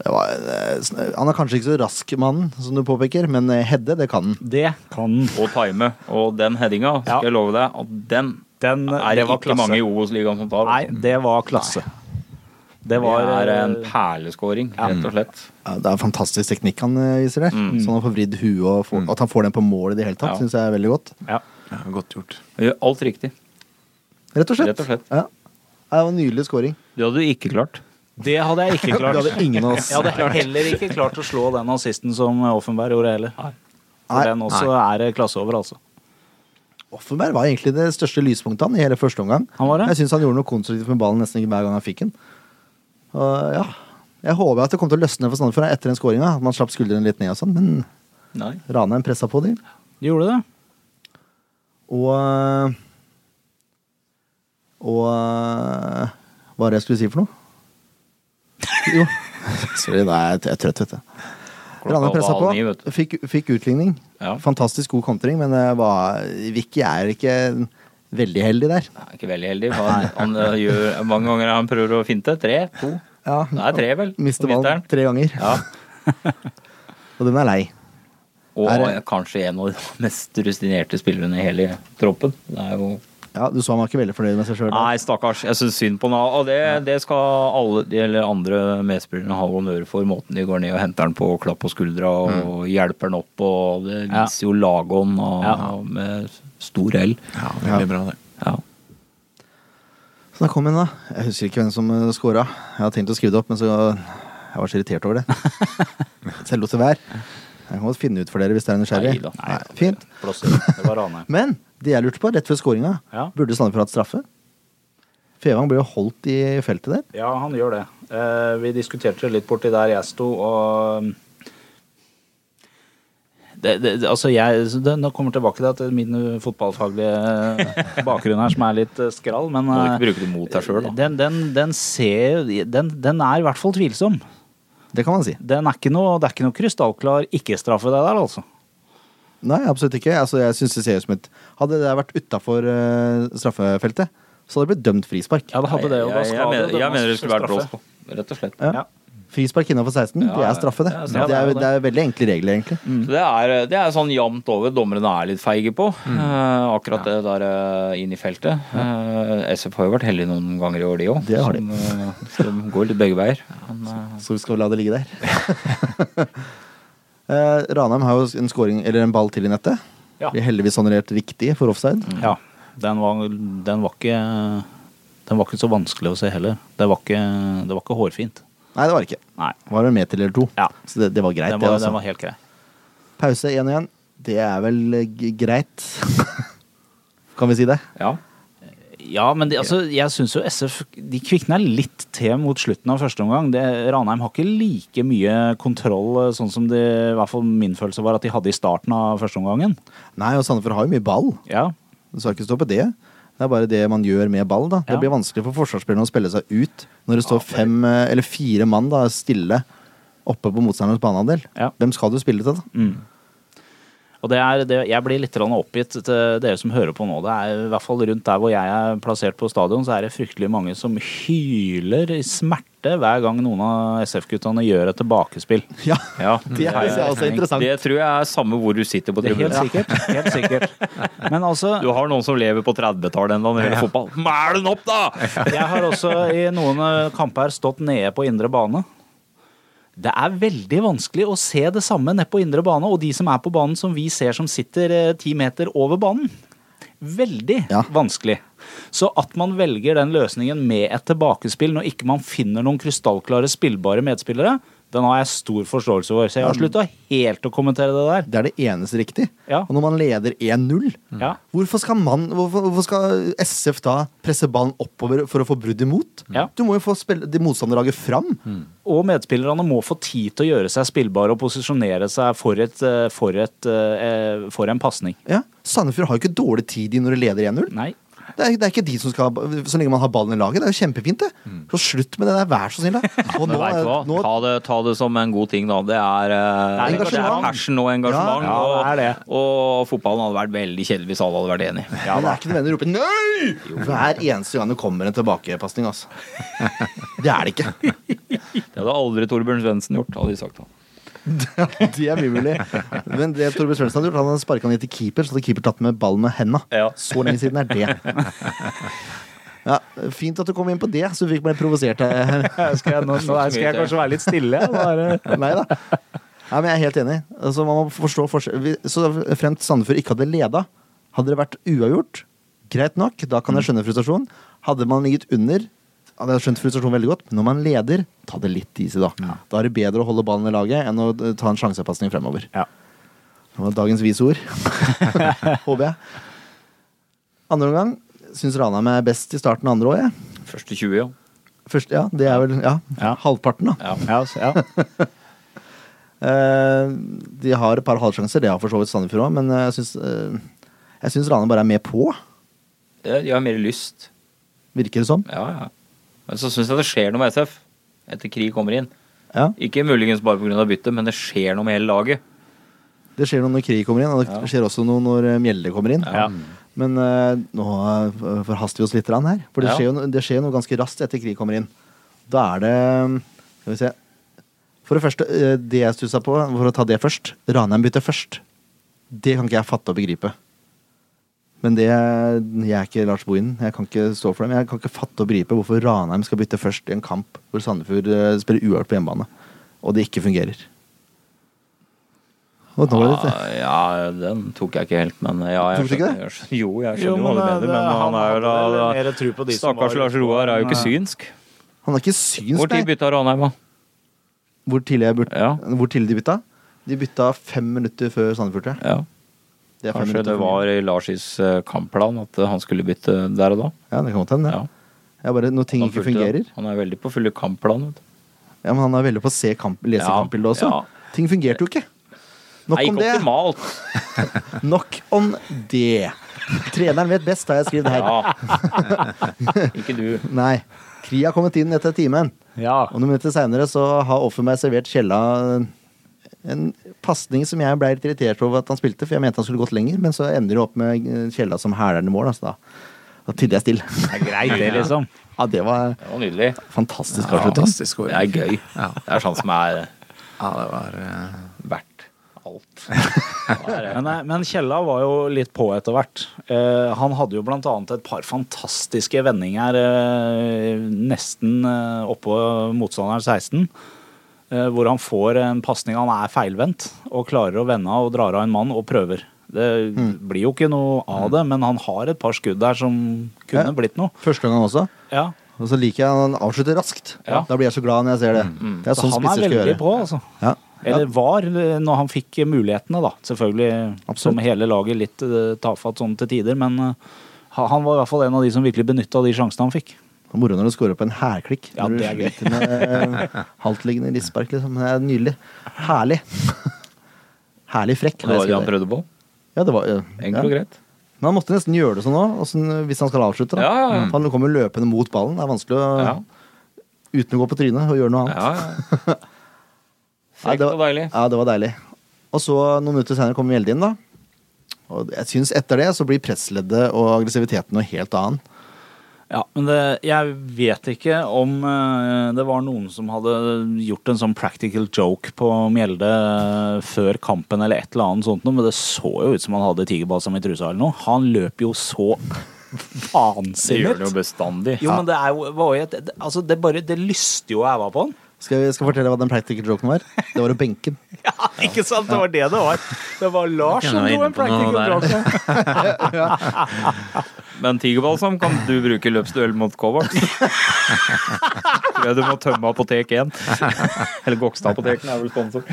[SPEAKER 1] Det var, eh, sn- han er kanskje ikke så rask, mannen, som du påpeker, men eh, Hedde, det kan han.
[SPEAKER 2] Det kan
[SPEAKER 4] Og time. Og den headinga, skal
[SPEAKER 2] Ja.
[SPEAKER 4] jeg love deg, at den
[SPEAKER 2] den
[SPEAKER 4] er det
[SPEAKER 2] det var
[SPEAKER 4] ikke mange i
[SPEAKER 2] klasse.
[SPEAKER 4] Obos-ligaen som tar. altså.
[SPEAKER 2] Nei, det var klasse. Det var
[SPEAKER 4] det er en
[SPEAKER 2] eh,
[SPEAKER 4] perleskåring,
[SPEAKER 2] Ja.
[SPEAKER 4] rett og slett.
[SPEAKER 1] Ja, Det er en fantastisk teknikk han eh, viser der. Sånn han får vridd huet og får, at han får den på mål i det hele tatt,
[SPEAKER 4] Mm. Ja.
[SPEAKER 1] synes syns jeg er veldig godt.
[SPEAKER 2] ja.
[SPEAKER 5] Ja, godt gjort.
[SPEAKER 2] Mm.
[SPEAKER 4] Gjør alt riktig.
[SPEAKER 1] Rett og slett.
[SPEAKER 4] Rett og slett.
[SPEAKER 1] Ja. Ja, Det var en nydelig scoring.
[SPEAKER 4] Det hadde du ikke klart.
[SPEAKER 2] Det hadde jeg ikke
[SPEAKER 1] (laughs) Det
[SPEAKER 2] klart.
[SPEAKER 1] hadde ingen av
[SPEAKER 2] (laughs)
[SPEAKER 1] oss.
[SPEAKER 2] Jeg hadde heller ikke klart å slå den assisten som Offenberg gjorde heller.
[SPEAKER 1] Nei.
[SPEAKER 2] For den også er det klasse over, altså.
[SPEAKER 1] Offenberg var egentlig det største lyspunktet han i hele første omgang.
[SPEAKER 2] Han var det?
[SPEAKER 1] Jeg syns han gjorde noe konstruktivt med ballen nesten hver gang han fikk den. Og ja, Jeg håper at det kom til å løsne for Sandefjord etter den skåringa, at man slapp skuldrene litt ned og sånn, men
[SPEAKER 4] Nei.
[SPEAKER 1] Ranheim pressa på de.
[SPEAKER 2] De gjorde det.
[SPEAKER 1] Og Og Hva var det jeg skulle si for noe? Jo. (laughs) Sorry, da er jeg, jeg er trøtt, vet du. Ranheim pressa
[SPEAKER 4] halv ni, vet
[SPEAKER 1] på. Fikk, fikk utligning.
[SPEAKER 4] Ja.
[SPEAKER 1] Fantastisk god kontring, men det var, Vicky er ikke veldig heldig der.
[SPEAKER 4] Nei, ikke veldig heldig. for Han, han eh, gjør, mange ganger han prøver å finte. Tre? To?
[SPEAKER 1] Ja,
[SPEAKER 4] Nei, tre, vel.
[SPEAKER 1] Mister
[SPEAKER 4] Og
[SPEAKER 1] ballen
[SPEAKER 4] mister den.
[SPEAKER 1] tre ganger,
[SPEAKER 4] Ja.
[SPEAKER 1] og den er lei.
[SPEAKER 4] Og
[SPEAKER 1] Er det-
[SPEAKER 4] kanskje en av de mest rutinerte spillerne i hele troppen. Det er jo
[SPEAKER 1] Ja, Du så han var ikke veldig fornøyd med seg sjøl.
[SPEAKER 4] Nei, stakkars. Jeg syns synd på han. Og det, det skal alle de eller andre medspillerne ha honnør for. Måten de går ned og henter han på, klapp på skuldra og hjelper han opp. Og det
[SPEAKER 2] Ja.
[SPEAKER 4] viser jo lagånd og,
[SPEAKER 2] Ja.
[SPEAKER 4] og med stor L.
[SPEAKER 5] Ja, veldig bra det.
[SPEAKER 4] Ja.
[SPEAKER 1] Så da kom hun, da. Jeg husker ikke hvem som eh, scora. Jeg hadde tenkt å skrive det opp, men så jeg var så irritert
[SPEAKER 4] (laughs)
[SPEAKER 1] over det. så jeg lot det være. Jeg kan godt finne ut for dere hvis dere er nysgjerrig.
[SPEAKER 4] Nei da.
[SPEAKER 1] Nei, fint.
[SPEAKER 2] Blåser. Det var Ranheim.
[SPEAKER 1] Men det jeg lurte på, rett før scoringa,
[SPEAKER 2] Ja.
[SPEAKER 1] burde Sandefjord hatt straffe? Fevang ble jo holdt i feltet der.
[SPEAKER 2] Ja, han gjør det. Eh, vi diskuterte litt borti der jeg sto, og eh, det, det, det- altså jeg, så det, Nå kommer jeg tilbake til at min uh, fotballfaglige eh, bakgrunn her som er litt eh, skral, men
[SPEAKER 4] Må
[SPEAKER 2] eh,
[SPEAKER 4] ikke bruke det mot deg sjøl, da.
[SPEAKER 2] den, den, den ser den, den er i hvert fall tvilsom.
[SPEAKER 1] Det kan man si.
[SPEAKER 2] Den er ikke noe, det er ikke noe krystallklar ikke-straffe, det der, altså.
[SPEAKER 1] Nei, absolutt ikke. Altså, jeg synes det ser ut som et Hadde det vært utafor straffefeltet, så hadde det blitt dømt frispark.
[SPEAKER 2] Ja, det hadde det, og da
[SPEAKER 4] jeg, jeg,
[SPEAKER 2] skal
[SPEAKER 4] mener, jeg
[SPEAKER 2] det dømmes
[SPEAKER 4] mener det skulle vært
[SPEAKER 2] straffe.
[SPEAKER 4] blåst på, rett og slett.
[SPEAKER 1] Ja.
[SPEAKER 2] Ja.
[SPEAKER 1] Frispark innafor 16,
[SPEAKER 4] Ja,
[SPEAKER 1] det er straffe, det.
[SPEAKER 4] det er
[SPEAKER 1] Det
[SPEAKER 4] straffe,
[SPEAKER 1] er,
[SPEAKER 4] det er
[SPEAKER 1] det er veldig enkle regler, egentlig.
[SPEAKER 2] Mm.
[SPEAKER 4] Så det er, det er sånn jevnt over dommerne er litt feige på.
[SPEAKER 2] Mm.
[SPEAKER 4] eh, akkurat det der eh, inn i feltet. Eh, SF har jo vært heldig noen ganger i år, de òg.
[SPEAKER 1] Det har de.
[SPEAKER 4] som, eh, som går litt begge veier. Men, eh,
[SPEAKER 1] Så vi skal la det ligge der. (laughs) Eh, Ranheim har jo en, scoring, eller en ball til i nettet.
[SPEAKER 2] Ja.
[SPEAKER 1] Blir heldigvis honorert riktig for offside.
[SPEAKER 2] Ja, den var, den var ikke Den var ikke så vanskelig å se heller. Det var ikke, det var ikke hårfint.
[SPEAKER 1] Nei, det var det ikke.
[SPEAKER 2] Nei.
[SPEAKER 1] Var det en meter eller to?
[SPEAKER 2] Ja.
[SPEAKER 1] Så det, det var greit,
[SPEAKER 2] Den var,
[SPEAKER 1] det.
[SPEAKER 2] den
[SPEAKER 1] Altså.
[SPEAKER 2] var helt grei.
[SPEAKER 1] Pause 1-1. Det er vel eh, g- greit. (laughs) kan vi si det?
[SPEAKER 4] ja.
[SPEAKER 2] Ja, men de, altså, jeg syns jo SF De kvikna litt til mot slutten av første omgang. Det, Ranheim har ikke like mye kontroll eh, sånn som de, i hvert fall min følelse var at de hadde i starten av første omgangen.
[SPEAKER 1] Nei, og Sandefjord har jo mye ball.
[SPEAKER 2] Ja.
[SPEAKER 1] Du skal ikke stå på det. Det er bare det man gjør med ball. da.
[SPEAKER 2] Ja.
[SPEAKER 1] Det blir vanskelig for forsvarsspillerne å spille seg ut når det står fem eh, eller fire mann da, stille oppe på motstanderens banehalvdel.
[SPEAKER 2] Ja. Mm.
[SPEAKER 1] Hvem skal du spille til, da?
[SPEAKER 2] Og det er, det, jeg blir litt grann oppgitt til dere som hører på nå. Det er i hvert fall rundt der hvor jeg er plassert på stadion, så er det fryktelig mange som hyler i smerte hver gang noen av SF-guttene gjør et tilbakespill.
[SPEAKER 1] Ja,
[SPEAKER 4] ja.
[SPEAKER 1] Det er altså også interessant.
[SPEAKER 4] Det tror jeg er samme hvor du sitter på
[SPEAKER 2] Det er helt
[SPEAKER 4] tribunen.
[SPEAKER 2] sikkert. Helt sikkert. Men altså
[SPEAKER 4] Du har noen som lever på 30-tallet ennå når det gjelder fotball. Mæl den opp, da!
[SPEAKER 2] Jeg har også i noen eh, kamper stått nede på indre bane. Det er veldig vanskelig å se det samme nede på indre bane, og de som er på banen som vi ser som sitter eh, ti meter over banen. Veldig
[SPEAKER 1] Ja.
[SPEAKER 2] vanskelig. Så at man velger den løsningen med et tilbakespill når ikke man finner noen krystallklare spillbare medspillere, den har jeg stor forståelse for. Så jeg har slutta helt å kommentere det der.
[SPEAKER 1] Det er det eneste riktig.
[SPEAKER 2] Ja.
[SPEAKER 1] Og når man leder 1-0,
[SPEAKER 2] Ja.
[SPEAKER 1] hvorfor, skal man- hvorfor, hvorfor skal SF da presse ballen oppover for å få brudd imot?
[SPEAKER 2] Ja. Mm.
[SPEAKER 1] Du må jo få spille, de motstanderlaget fram.
[SPEAKER 2] Og medspillerne må få tid til å gjøre seg spillbare og posisjonere seg for, et, eh, for, et, eh, for en pasning.
[SPEAKER 1] Ja. Sandefjord har jo ikke dårlig tid i når de leder 1-0.
[SPEAKER 2] Nei.
[SPEAKER 1] Det er, det er ikke de som skal ha- Så lenge man har ballen i laget. Det er jo kjempefint, det. Så slutt med det der, vær så snill. da.
[SPEAKER 4] (laughs)
[SPEAKER 1] Og
[SPEAKER 4] Mm. Men vet du hva?
[SPEAKER 1] nå,
[SPEAKER 4] ta, det, ta det som en god ting, da. Det er, eh,
[SPEAKER 2] Det er
[SPEAKER 4] det er
[SPEAKER 1] engasjement.
[SPEAKER 4] passion og engasjement.
[SPEAKER 2] Ja, ja, det er det.
[SPEAKER 4] Og, og fotballen hadde vært veldig kjedelig hvis alle hadde vært enig.
[SPEAKER 1] ja, det er ikke nødvendig å rope 'nei' hver eneste gang det kommer en tilbakepasning. Altså. Det er det ikke. (laughs)
[SPEAKER 4] Det hadde aldri Torbjørn Svendsen gjort, hadde de sagt. da.
[SPEAKER 1] Det er mye mulig. Men det Torbjørn Svendsen hadde gjort, han hadde sparka ned til keeper, så hadde keeper tatt med ballen med henda.
[SPEAKER 4] Ja.
[SPEAKER 1] Så lenge siden er
[SPEAKER 4] (laughs)
[SPEAKER 1] det. Ja, fint at du kom inn på det, så du fikk meg litt provosert. Nei
[SPEAKER 2] Skal jeg, nå, nå skal jeg kanskje være litt stille. jeg, Bare.
[SPEAKER 1] Eh, da. Ja, men jeg er helt enig. Altså, man må forstå forskjell. Vi- Så fremt Sandefjord ikke hadde leda, hadde det vært uavgjort, greit nok, da kan jeg skjønne frustrasjon. Hadde man ligget under, hadde jeg skjønt frustrasjon veldig godt, men når man leder, ta det litt is i da. Da er det bedre å holde ballen i laget enn å eh, ta en sjansepasning fremover.
[SPEAKER 2] Ja.
[SPEAKER 1] Det var dagens vise ord. Håper jeg. Andre omgang syns Ranheim er best i starten av andre år, jeg.
[SPEAKER 4] Første 20, ja.
[SPEAKER 1] Første, ja, det er vel ja,
[SPEAKER 2] Ja.
[SPEAKER 1] halvparten, da.
[SPEAKER 4] Ja.
[SPEAKER 2] Ja, så- ja.
[SPEAKER 1] Eh, de har et par halvsjanser, det har for så vidt Sandefjord òg, men eh, jeg syns uh, Ranheim bare er med på,
[SPEAKER 4] Det- De har mer lyst.
[SPEAKER 1] virker det som.
[SPEAKER 4] Ja, ja. Men så syns jeg det skjer noe med SF etter Kri kommer inn.
[SPEAKER 1] Ja.
[SPEAKER 4] Ikke muligens bare pga. byttet, men det skjer noe med hele laget.
[SPEAKER 1] Det skjer noe når Krig kommer inn, og det skjer også noe når eh, Mjelde kommer inn.
[SPEAKER 2] Ja.
[SPEAKER 1] Men eh, nå eh, forhaster vi oss litt grann her. For det
[SPEAKER 4] Ja.
[SPEAKER 1] skjer, jo, no- det skjer jo noe ganske raskt etter krig kommer inn. Da er det Skal vi se. For det første, eh, det jeg stussa på, for å ta det først Ranheim bytter først. Det kan ikke jeg fatte og begripe. Men det, jeg er ikke Lars Bohin. Jeg kan ikke stå for det. Men jeg kan ikke fatte og begripe hvorfor Ranheim skal bytte først i en kamp hvor Sandefjord eh, spiller uavgjort på hjemmebane, og det ikke fungerer. Og nå var det litt,
[SPEAKER 4] Ah, ja, den tok jeg ikke helt, men ja, jeg
[SPEAKER 1] Tok du ikke
[SPEAKER 4] skjønner- jeg skjønner- Jo, jeg skjønner jo, hva du
[SPEAKER 2] men,
[SPEAKER 4] mener,
[SPEAKER 2] det-
[SPEAKER 4] men han er jo
[SPEAKER 2] hadde
[SPEAKER 4] da,
[SPEAKER 2] vel
[SPEAKER 4] da
[SPEAKER 2] mer tro på de som
[SPEAKER 4] Stakkars
[SPEAKER 2] var-
[SPEAKER 4] Lars Roar er jo ikke synsk.
[SPEAKER 1] Han er ikke syns,
[SPEAKER 4] Hvor tid bytta Ranheim, da?
[SPEAKER 1] Hvor tidlig, jeg burt,
[SPEAKER 4] Ja.
[SPEAKER 1] hvor tidlig de bytta? De bytta fem minutter før Sandefjord. tror jeg.
[SPEAKER 4] Ja.
[SPEAKER 1] Det er fem
[SPEAKER 4] Kanskje
[SPEAKER 1] minutter
[SPEAKER 4] det
[SPEAKER 1] for mye.
[SPEAKER 4] var i Larsis eh, kampplan at eh, han skulle bytte der og da.
[SPEAKER 1] Ja, det kan godt hende. Ja.
[SPEAKER 4] Ja.
[SPEAKER 1] Ja, bare når ting
[SPEAKER 4] Han
[SPEAKER 1] ikke
[SPEAKER 4] fulgte-
[SPEAKER 1] fungerer.
[SPEAKER 4] Han er veldig på fulle kampplan. Vet du.
[SPEAKER 1] Ja, Men han er veldig på å se kamp, lese
[SPEAKER 4] Ja,
[SPEAKER 1] kampbildet også.
[SPEAKER 4] ja.
[SPEAKER 1] Ting fungerte jo ikke. Nok
[SPEAKER 4] er
[SPEAKER 1] om
[SPEAKER 4] ikke
[SPEAKER 1] det.
[SPEAKER 4] optimalt.
[SPEAKER 1] (laughs) Nok om det. Treneren vet best, har jeg skrevet her.
[SPEAKER 4] Ja. (laughs) ikke du.
[SPEAKER 1] Nei. Kri har kommet inn etter timen.
[SPEAKER 2] Ja.
[SPEAKER 1] Og noen minutter seinere så har Offerberg servert Kjella en pasning som jeg ble litt irritert over at han spilte, for jeg mente han skulle gått lenger, men så ender det opp med Kjella som hæler den i mål. Altså da da tidde jeg stille.
[SPEAKER 2] Det er greit, det, liksom.
[SPEAKER 1] (laughs) Ja, det var
[SPEAKER 4] Det var nydelig.
[SPEAKER 1] fantastisk
[SPEAKER 5] Ja,
[SPEAKER 1] avslutning.
[SPEAKER 5] fantastisk scoring.
[SPEAKER 4] Det er gøy.
[SPEAKER 5] Ja.
[SPEAKER 4] Det er sånn som er
[SPEAKER 5] Ja, det var eh,
[SPEAKER 4] verdt alt.
[SPEAKER 2] Men, eh, men Kjella var jo litt på etter hvert. Eh, han hadde jo blant annet et par fantastiske vendinger eh, nesten eh, oppå motstanderen 16. Eh, hvor han får en pasning han er feilvendt, og klarer å vende av og drar av en mann og prøver. Det
[SPEAKER 1] Mm.
[SPEAKER 2] blir jo ikke noe av det, men han har et par skudd der som kunne
[SPEAKER 1] Ja.
[SPEAKER 2] blitt noe.
[SPEAKER 1] Første gangen også.
[SPEAKER 2] Ja.
[SPEAKER 1] Og så liker jeg han avslutter raskt.
[SPEAKER 2] Ja.
[SPEAKER 1] Da blir jeg så glad når jeg ser det. Det er sånn
[SPEAKER 2] Så han er
[SPEAKER 1] spisser skal
[SPEAKER 2] veldig
[SPEAKER 1] gjøre.
[SPEAKER 2] på, altså.
[SPEAKER 1] Ja.
[SPEAKER 2] Eller var, eh, når han fikk eh, mulighetene, da. Selvfølgelig som hele laget litt eh, tafatt sånn til tider, men eh, ha- han var i hvert fall en av de som virkelig benytta de sjansene han fikk.
[SPEAKER 1] Det er Moro når du scorer på en hælklikk.
[SPEAKER 2] Ja,
[SPEAKER 1] når du
[SPEAKER 2] det er gøy.
[SPEAKER 1] sliter med eh, (laughs) Haltliggende rispark, liksom. Det er nydelig. Herlig. (laughs) Herlig frekk.
[SPEAKER 4] Det
[SPEAKER 1] har jeg
[SPEAKER 4] var det han
[SPEAKER 1] skrevet.
[SPEAKER 4] prøvde på.
[SPEAKER 1] Ja, det var, eh,
[SPEAKER 4] Enkelt og
[SPEAKER 1] ja.
[SPEAKER 4] greit.
[SPEAKER 1] Men han måtte nesten gjøre det sånn òg, hvis han skal avslutte. Da.
[SPEAKER 4] Ja, ja, ja.
[SPEAKER 1] Mm. Han kommer løpende mot ballen. Det er vanskelig å
[SPEAKER 4] Ja.
[SPEAKER 1] Uten å gå på trynet og gjøre noe annet.
[SPEAKER 4] Ja, ja. (laughs)
[SPEAKER 1] Nei,
[SPEAKER 4] Frekt
[SPEAKER 1] det var-
[SPEAKER 4] og deilig.
[SPEAKER 1] Ja, det var deilig. Og så, noen minutter senere, kommer Mjelde inn, da. Og jeg syns etter det så blir pressleddet og aggressiviteten noe helt annet.
[SPEAKER 2] Ja, men det, jeg vet ikke om eh, det var noen som hadde gjort en sånn practical joke på Mjelde eh, før kampen eller et eller annet sånt noe, men det så jo ut som han hadde tigerbalsam i trusa eller noe. Han løp jo (laughs) så
[SPEAKER 4] Det gjør
[SPEAKER 2] vansinnet.
[SPEAKER 4] det jo bestandig.
[SPEAKER 2] Jo, men det er jo var jo et, det, Altså, det bare Det lyste jo æva på han.
[SPEAKER 1] Skal jeg skal jeg fortelle hva den practical joken var? Det var å
[SPEAKER 2] (laughs)
[SPEAKER 1] benke den.
[SPEAKER 2] Ja, ikke sant? Det var det det var. Det var Lars
[SPEAKER 5] Jeg
[SPEAKER 2] som
[SPEAKER 5] var
[SPEAKER 2] dro
[SPEAKER 5] inne
[SPEAKER 2] en
[SPEAKER 5] på noe
[SPEAKER 2] practical
[SPEAKER 5] der.
[SPEAKER 2] joke.
[SPEAKER 4] Men tigerbalsam kan du bruke i løpsduell mot (laughs) Kovac. Tror jeg du må tømme apotek (laughs) 1. Eller Gokstad apotekene er vel sponsor.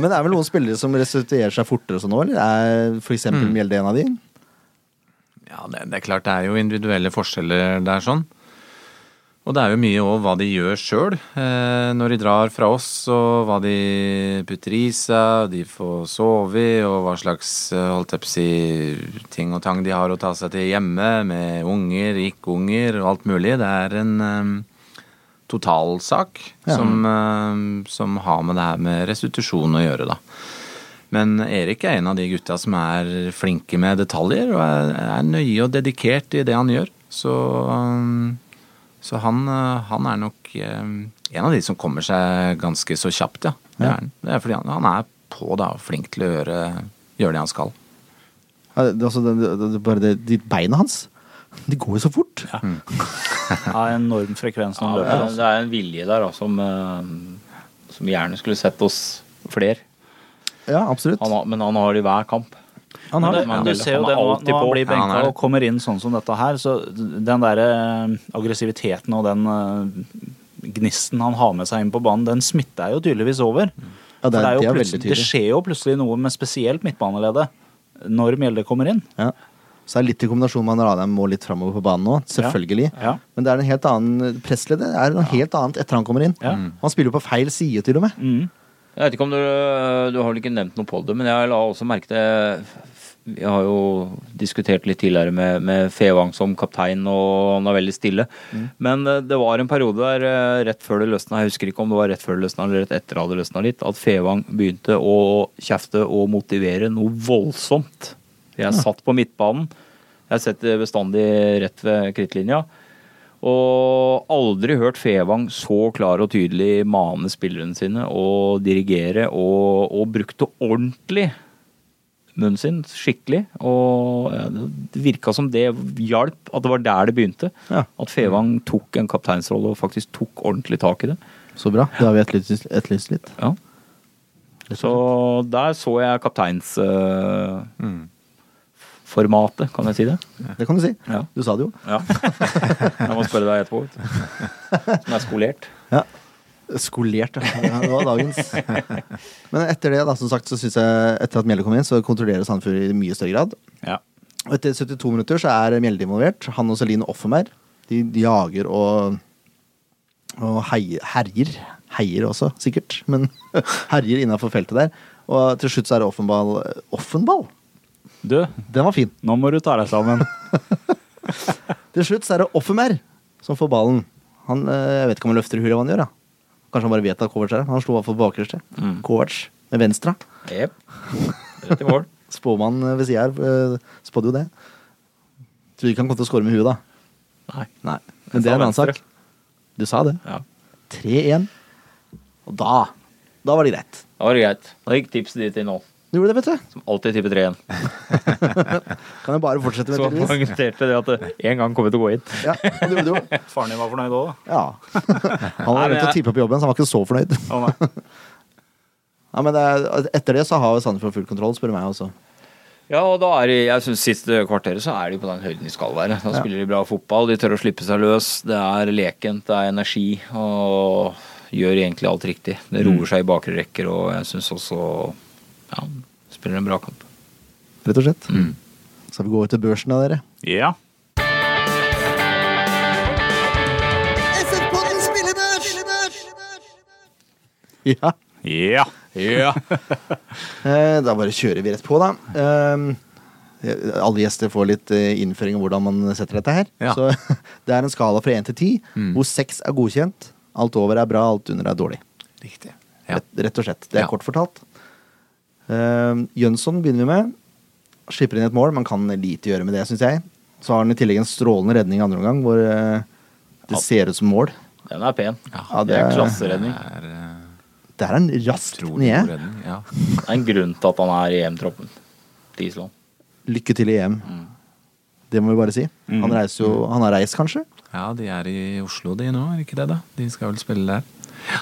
[SPEAKER 1] Men det er vel noen spillere som restituerer seg fortere og sånn nå, eller? Er for eksempel
[SPEAKER 2] Mm.
[SPEAKER 1] Mjelde en av de?
[SPEAKER 5] Ja, det, det er klart det er jo individuelle forskjeller der sånn. Og det er jo mye òg hva de gjør sjøl eh, når de drar fra oss, og hva de putter i seg, de får sove i, og hva slags eh, holdt jeg på å si, ting og tang de har å ta seg til hjemme, med unger, ikke-unger og alt mulig. Det er en eh, totalsak som, eh, som har med det her med restitusjon å gjøre, da. Men Erik er en av de gutta som er flinke med detaljer, og er, er nøye og dedikert i det han gjør. Så, um, så han, uh, han er nok um, en av de som kommer seg ganske så kjapt, ja. Det er, han. det er fordi han, han er på da, og flink til å gjøre, gjøre det han skal.
[SPEAKER 1] Ja, det, altså, det, det, det, bare det, de beina hans De går jo så fort.
[SPEAKER 2] (laughs)
[SPEAKER 1] Mm.
[SPEAKER 2] Ja, enorm frekvens når han
[SPEAKER 4] det,
[SPEAKER 2] løper. altså.
[SPEAKER 4] er, det er en vilje der da, som, eh, som gjerne skulle sett oss flere.
[SPEAKER 1] Ja, absolutt.
[SPEAKER 4] Han har, men han har det i hver kamp.
[SPEAKER 1] Han har
[SPEAKER 2] Men
[SPEAKER 1] det.
[SPEAKER 2] det-
[SPEAKER 4] Han er
[SPEAKER 2] Du
[SPEAKER 4] veldig-
[SPEAKER 2] ser jo
[SPEAKER 4] han er
[SPEAKER 2] det når,
[SPEAKER 4] alltid
[SPEAKER 2] når han
[SPEAKER 4] på.
[SPEAKER 2] blir
[SPEAKER 5] Ja, han er
[SPEAKER 2] benka
[SPEAKER 5] det.
[SPEAKER 2] og kommer inn sånn som dette her, så den derre eh, aggressiviteten og den eh, gnisten han har med seg inn på banen, den smitter jo tydeligvis over.
[SPEAKER 1] Ja, det er-
[SPEAKER 2] For
[SPEAKER 1] det er
[SPEAKER 2] jo
[SPEAKER 1] veldig
[SPEAKER 2] plutselig-
[SPEAKER 1] tydelig.
[SPEAKER 2] det skjer jo plutselig noe med spesielt midtbaneleddet når Mjelde kommer inn.
[SPEAKER 1] Ja. Så er det litt i kombinasjon med at Ranheim må litt framover på banen nå, selvfølgelig.
[SPEAKER 2] Ja.
[SPEAKER 1] Men det er en helt annen pressleddet. Det er noe helt annet etter han kommer inn.
[SPEAKER 2] Ja.
[SPEAKER 1] Han spiller jo på feil side, til og med.
[SPEAKER 4] Jeg vet ikke om du, du har vel ikke nevnt noe på det, men jeg la også merke til Vi har jo diskutert litt tidligere med, med Fevang som kaptein, og han er veldig stille. Men eh, det var en periode der eh, rett før det løsna, jeg husker ikke om det var rett før det løsna eller rett etter det hadde løsna litt, at Fevang begynte å kjefte og motivere noe voldsomt. Jeg satt på midtbanen. Jeg setter bestandig rett ved krittlinja. Og aldri hørt Fevang så klar og tydelig mane spillerne sine og dirigere, og, og brukte ordentlig munnen sin, skikkelig. Og ja, det virka som det hjalp, at det var der det begynte.
[SPEAKER 1] Ja.
[SPEAKER 4] At Fevang tok en kapteinsrolle og faktisk tok ordentlig tak i det.
[SPEAKER 1] Så bra. Det har vi etterlyst, etterlyst litt.
[SPEAKER 4] Ja. Så der så jeg kapteinsformatet, kan jeg si det?
[SPEAKER 1] Det kan du si.
[SPEAKER 4] Ja.
[SPEAKER 1] Du sa det jo.
[SPEAKER 4] Ja. (laughs) Jeg må spørre deg etterpå, vet du. Som er skolert.
[SPEAKER 1] Ja. Skolert, (laughs) ja. Det var dagens. Men etter det, da, som sagt, så synes jeg etter at Mjelde kom inn, så kontrollerer Sandefjord i mye større grad.
[SPEAKER 2] Ja.
[SPEAKER 1] Og etter 72 minutter så er Mjelde involvert. Han og Celine Offenberg. De de jager og, og heier, (laughs) herjer. Heier også, sikkert, men herjer innafor feltet der. Og til slutt så er det Offenball. Offenball?
[SPEAKER 2] Du,
[SPEAKER 1] Den var fin.
[SPEAKER 2] nå må du ta deg sammen.
[SPEAKER 1] Til slutt så er det Offenberg som får ballen. Han, eh, jeg vet ikke om han løfter i huet eller hva han gjør. da. Kanskje han bare vet at Kovac er der. Han slo i hvert fall bakerste.
[SPEAKER 4] Mm.
[SPEAKER 1] Kovac med venstre.
[SPEAKER 4] Jepp. Rett i mål.
[SPEAKER 1] Spåmannen ved sida her eh, spådde jo det. Tror ikke han kom til å score med huet, da.
[SPEAKER 4] Nei.
[SPEAKER 1] Nei.
[SPEAKER 4] Jeg
[SPEAKER 1] Men det er
[SPEAKER 4] sa
[SPEAKER 1] en annen
[SPEAKER 4] venstre.
[SPEAKER 1] sak. Du sa det.
[SPEAKER 4] Ja.
[SPEAKER 1] 3-1. Og da Da var det greit.
[SPEAKER 4] Da var det greit. Da gikk tipset ditt inn nå,
[SPEAKER 1] Du gjorde det, vet du.
[SPEAKER 4] som alltid tipper 3-1.
[SPEAKER 1] Kan jo bare fortsette med
[SPEAKER 4] Så
[SPEAKER 1] det. tydeligvis.
[SPEAKER 4] poengterte det at det en gang kommer til å gå inn.
[SPEAKER 1] Ja, han gjorde det jo.
[SPEAKER 2] (laughs) Faren din var fornøyd òg, da.
[SPEAKER 4] (laughs)
[SPEAKER 1] Ja. Han hadde
[SPEAKER 4] Nei, men
[SPEAKER 1] glemt å
[SPEAKER 4] jeg-
[SPEAKER 1] tippe på jobben, så han var ikke så fornøyd.
[SPEAKER 2] Å, nei.
[SPEAKER 1] Ja, men det er, etter det så har jo Sandefjord full kontroll, spør du meg også.
[SPEAKER 4] Ja, og da er de, jeg synes siste kvarteret så er de på den høyden de skal være. Da spiller de bra fotball, de tør å slippe seg løs. Det er lekent, det er energi, og gjør egentlig alt riktig. Det roer seg i bakre rekker, og jeg synes også ja, spiller en bra kamp.
[SPEAKER 1] Rett og slett.
[SPEAKER 5] Mm.
[SPEAKER 1] Skal vi gå ut til børsen da, dere?
[SPEAKER 2] Ja.
[SPEAKER 1] Ja.
[SPEAKER 2] Ja.
[SPEAKER 1] Eh, Da bare kjører vi rett på, da. Ehm, eh, Alle gjester får litt eh, innføring i hvordan man setter dette her.
[SPEAKER 5] Ja.
[SPEAKER 1] Så (laughs) det er en skala fra én til ti,
[SPEAKER 5] Mm.
[SPEAKER 1] hvor seks er godkjent. Alt over er bra, alt under er dårlig.
[SPEAKER 5] (laughs) Riktig. Ja.
[SPEAKER 1] Rett, rett og slett. Det er
[SPEAKER 5] Ja.
[SPEAKER 1] kort fortalt. Ehm, Jønsson begynner vi med. Slipper inn et mål, man kan lite gjøre med det, syns jeg. Så har han i tillegg en strålende redning i andre omgang, hvor eh, det ser ut som mål.
[SPEAKER 4] Den er pen.
[SPEAKER 1] Ja,
[SPEAKER 4] det er
[SPEAKER 1] det-
[SPEAKER 4] klasseredning.
[SPEAKER 5] Det er eh,
[SPEAKER 1] Der er han raskt
[SPEAKER 5] utrolig god
[SPEAKER 1] nede.
[SPEAKER 5] redning. Ja.
[SPEAKER 4] Det er en grunn til at han er i EM-troppen til Island.
[SPEAKER 1] Lykke til i EM. Det må vi bare si. Han reiser jo Han har reist, kanskje?
[SPEAKER 5] ja, de er i Oslo de nå, er ikke det da? De skal vel spille der.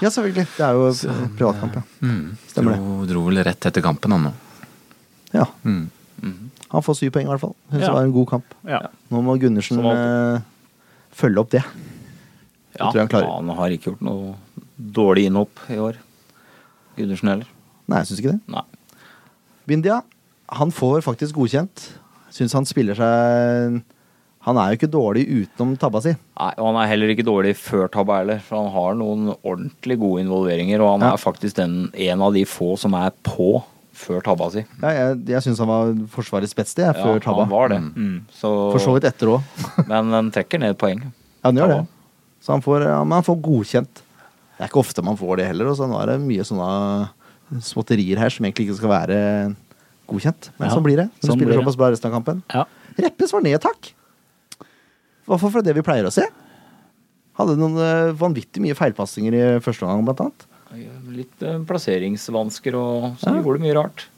[SPEAKER 1] Ja, selvfølgelig. Det er jo pri- privatkamp, ja.
[SPEAKER 5] Mm.
[SPEAKER 1] Stemmer det.
[SPEAKER 5] Dro, dro vel rett etter kampen han nå.
[SPEAKER 1] ja.
[SPEAKER 5] Mm.
[SPEAKER 1] Han får syv poeng, i hvert fall. Synes
[SPEAKER 2] Ja.
[SPEAKER 1] det var en god kamp.
[SPEAKER 2] ja.
[SPEAKER 1] Nå må Gundersen
[SPEAKER 2] Som alltid.
[SPEAKER 1] eh, følge opp det. Det
[SPEAKER 4] Ja,
[SPEAKER 1] tror jeg han klarer.
[SPEAKER 4] han har ikke gjort noe dårlig innhopp i år. Gundersen heller.
[SPEAKER 1] Nei, jeg syns ikke det.
[SPEAKER 4] Nei.
[SPEAKER 1] Bindia, han får faktisk godkjent. Syns han spiller seg Han er jo ikke dårlig utenom tabba si.
[SPEAKER 4] Nei, og han er heller ikke dårlig før tabba heller, for han har noen ordentlig gode involveringer, og han
[SPEAKER 1] Ja.
[SPEAKER 4] er faktisk den, en av de få som er på før tabba si.
[SPEAKER 1] Ja, jeg jeg syns han var Forsvarets beste jeg, før tabba. Mm.
[SPEAKER 4] Han var det. Mm. Så,
[SPEAKER 1] For så vidt etter òg.
[SPEAKER 4] men den trekker ned poeng.
[SPEAKER 1] Ja, han gjør det.
[SPEAKER 4] Tabba.
[SPEAKER 1] Så han får, ja, men han får godkjent. Det er ikke ofte man får det heller, og så nå er det mye sånne småtterier her som egentlig ikke skal være godkjent. Men
[SPEAKER 2] Ja,
[SPEAKER 1] sånn blir det. Du
[SPEAKER 2] sånn
[SPEAKER 1] spiller
[SPEAKER 2] blir det.
[SPEAKER 1] såpass bra resten av kampen.
[SPEAKER 2] Ja.
[SPEAKER 1] Reppes var ned, takk. Hvorfor for det vi pleier å se? Hadde noen eh, vanvittig mye feilpassinger i første omgang, blant annet.
[SPEAKER 4] Litt eh, plasseringsvansker og så
[SPEAKER 1] Ja.
[SPEAKER 4] gjorde det mye rart.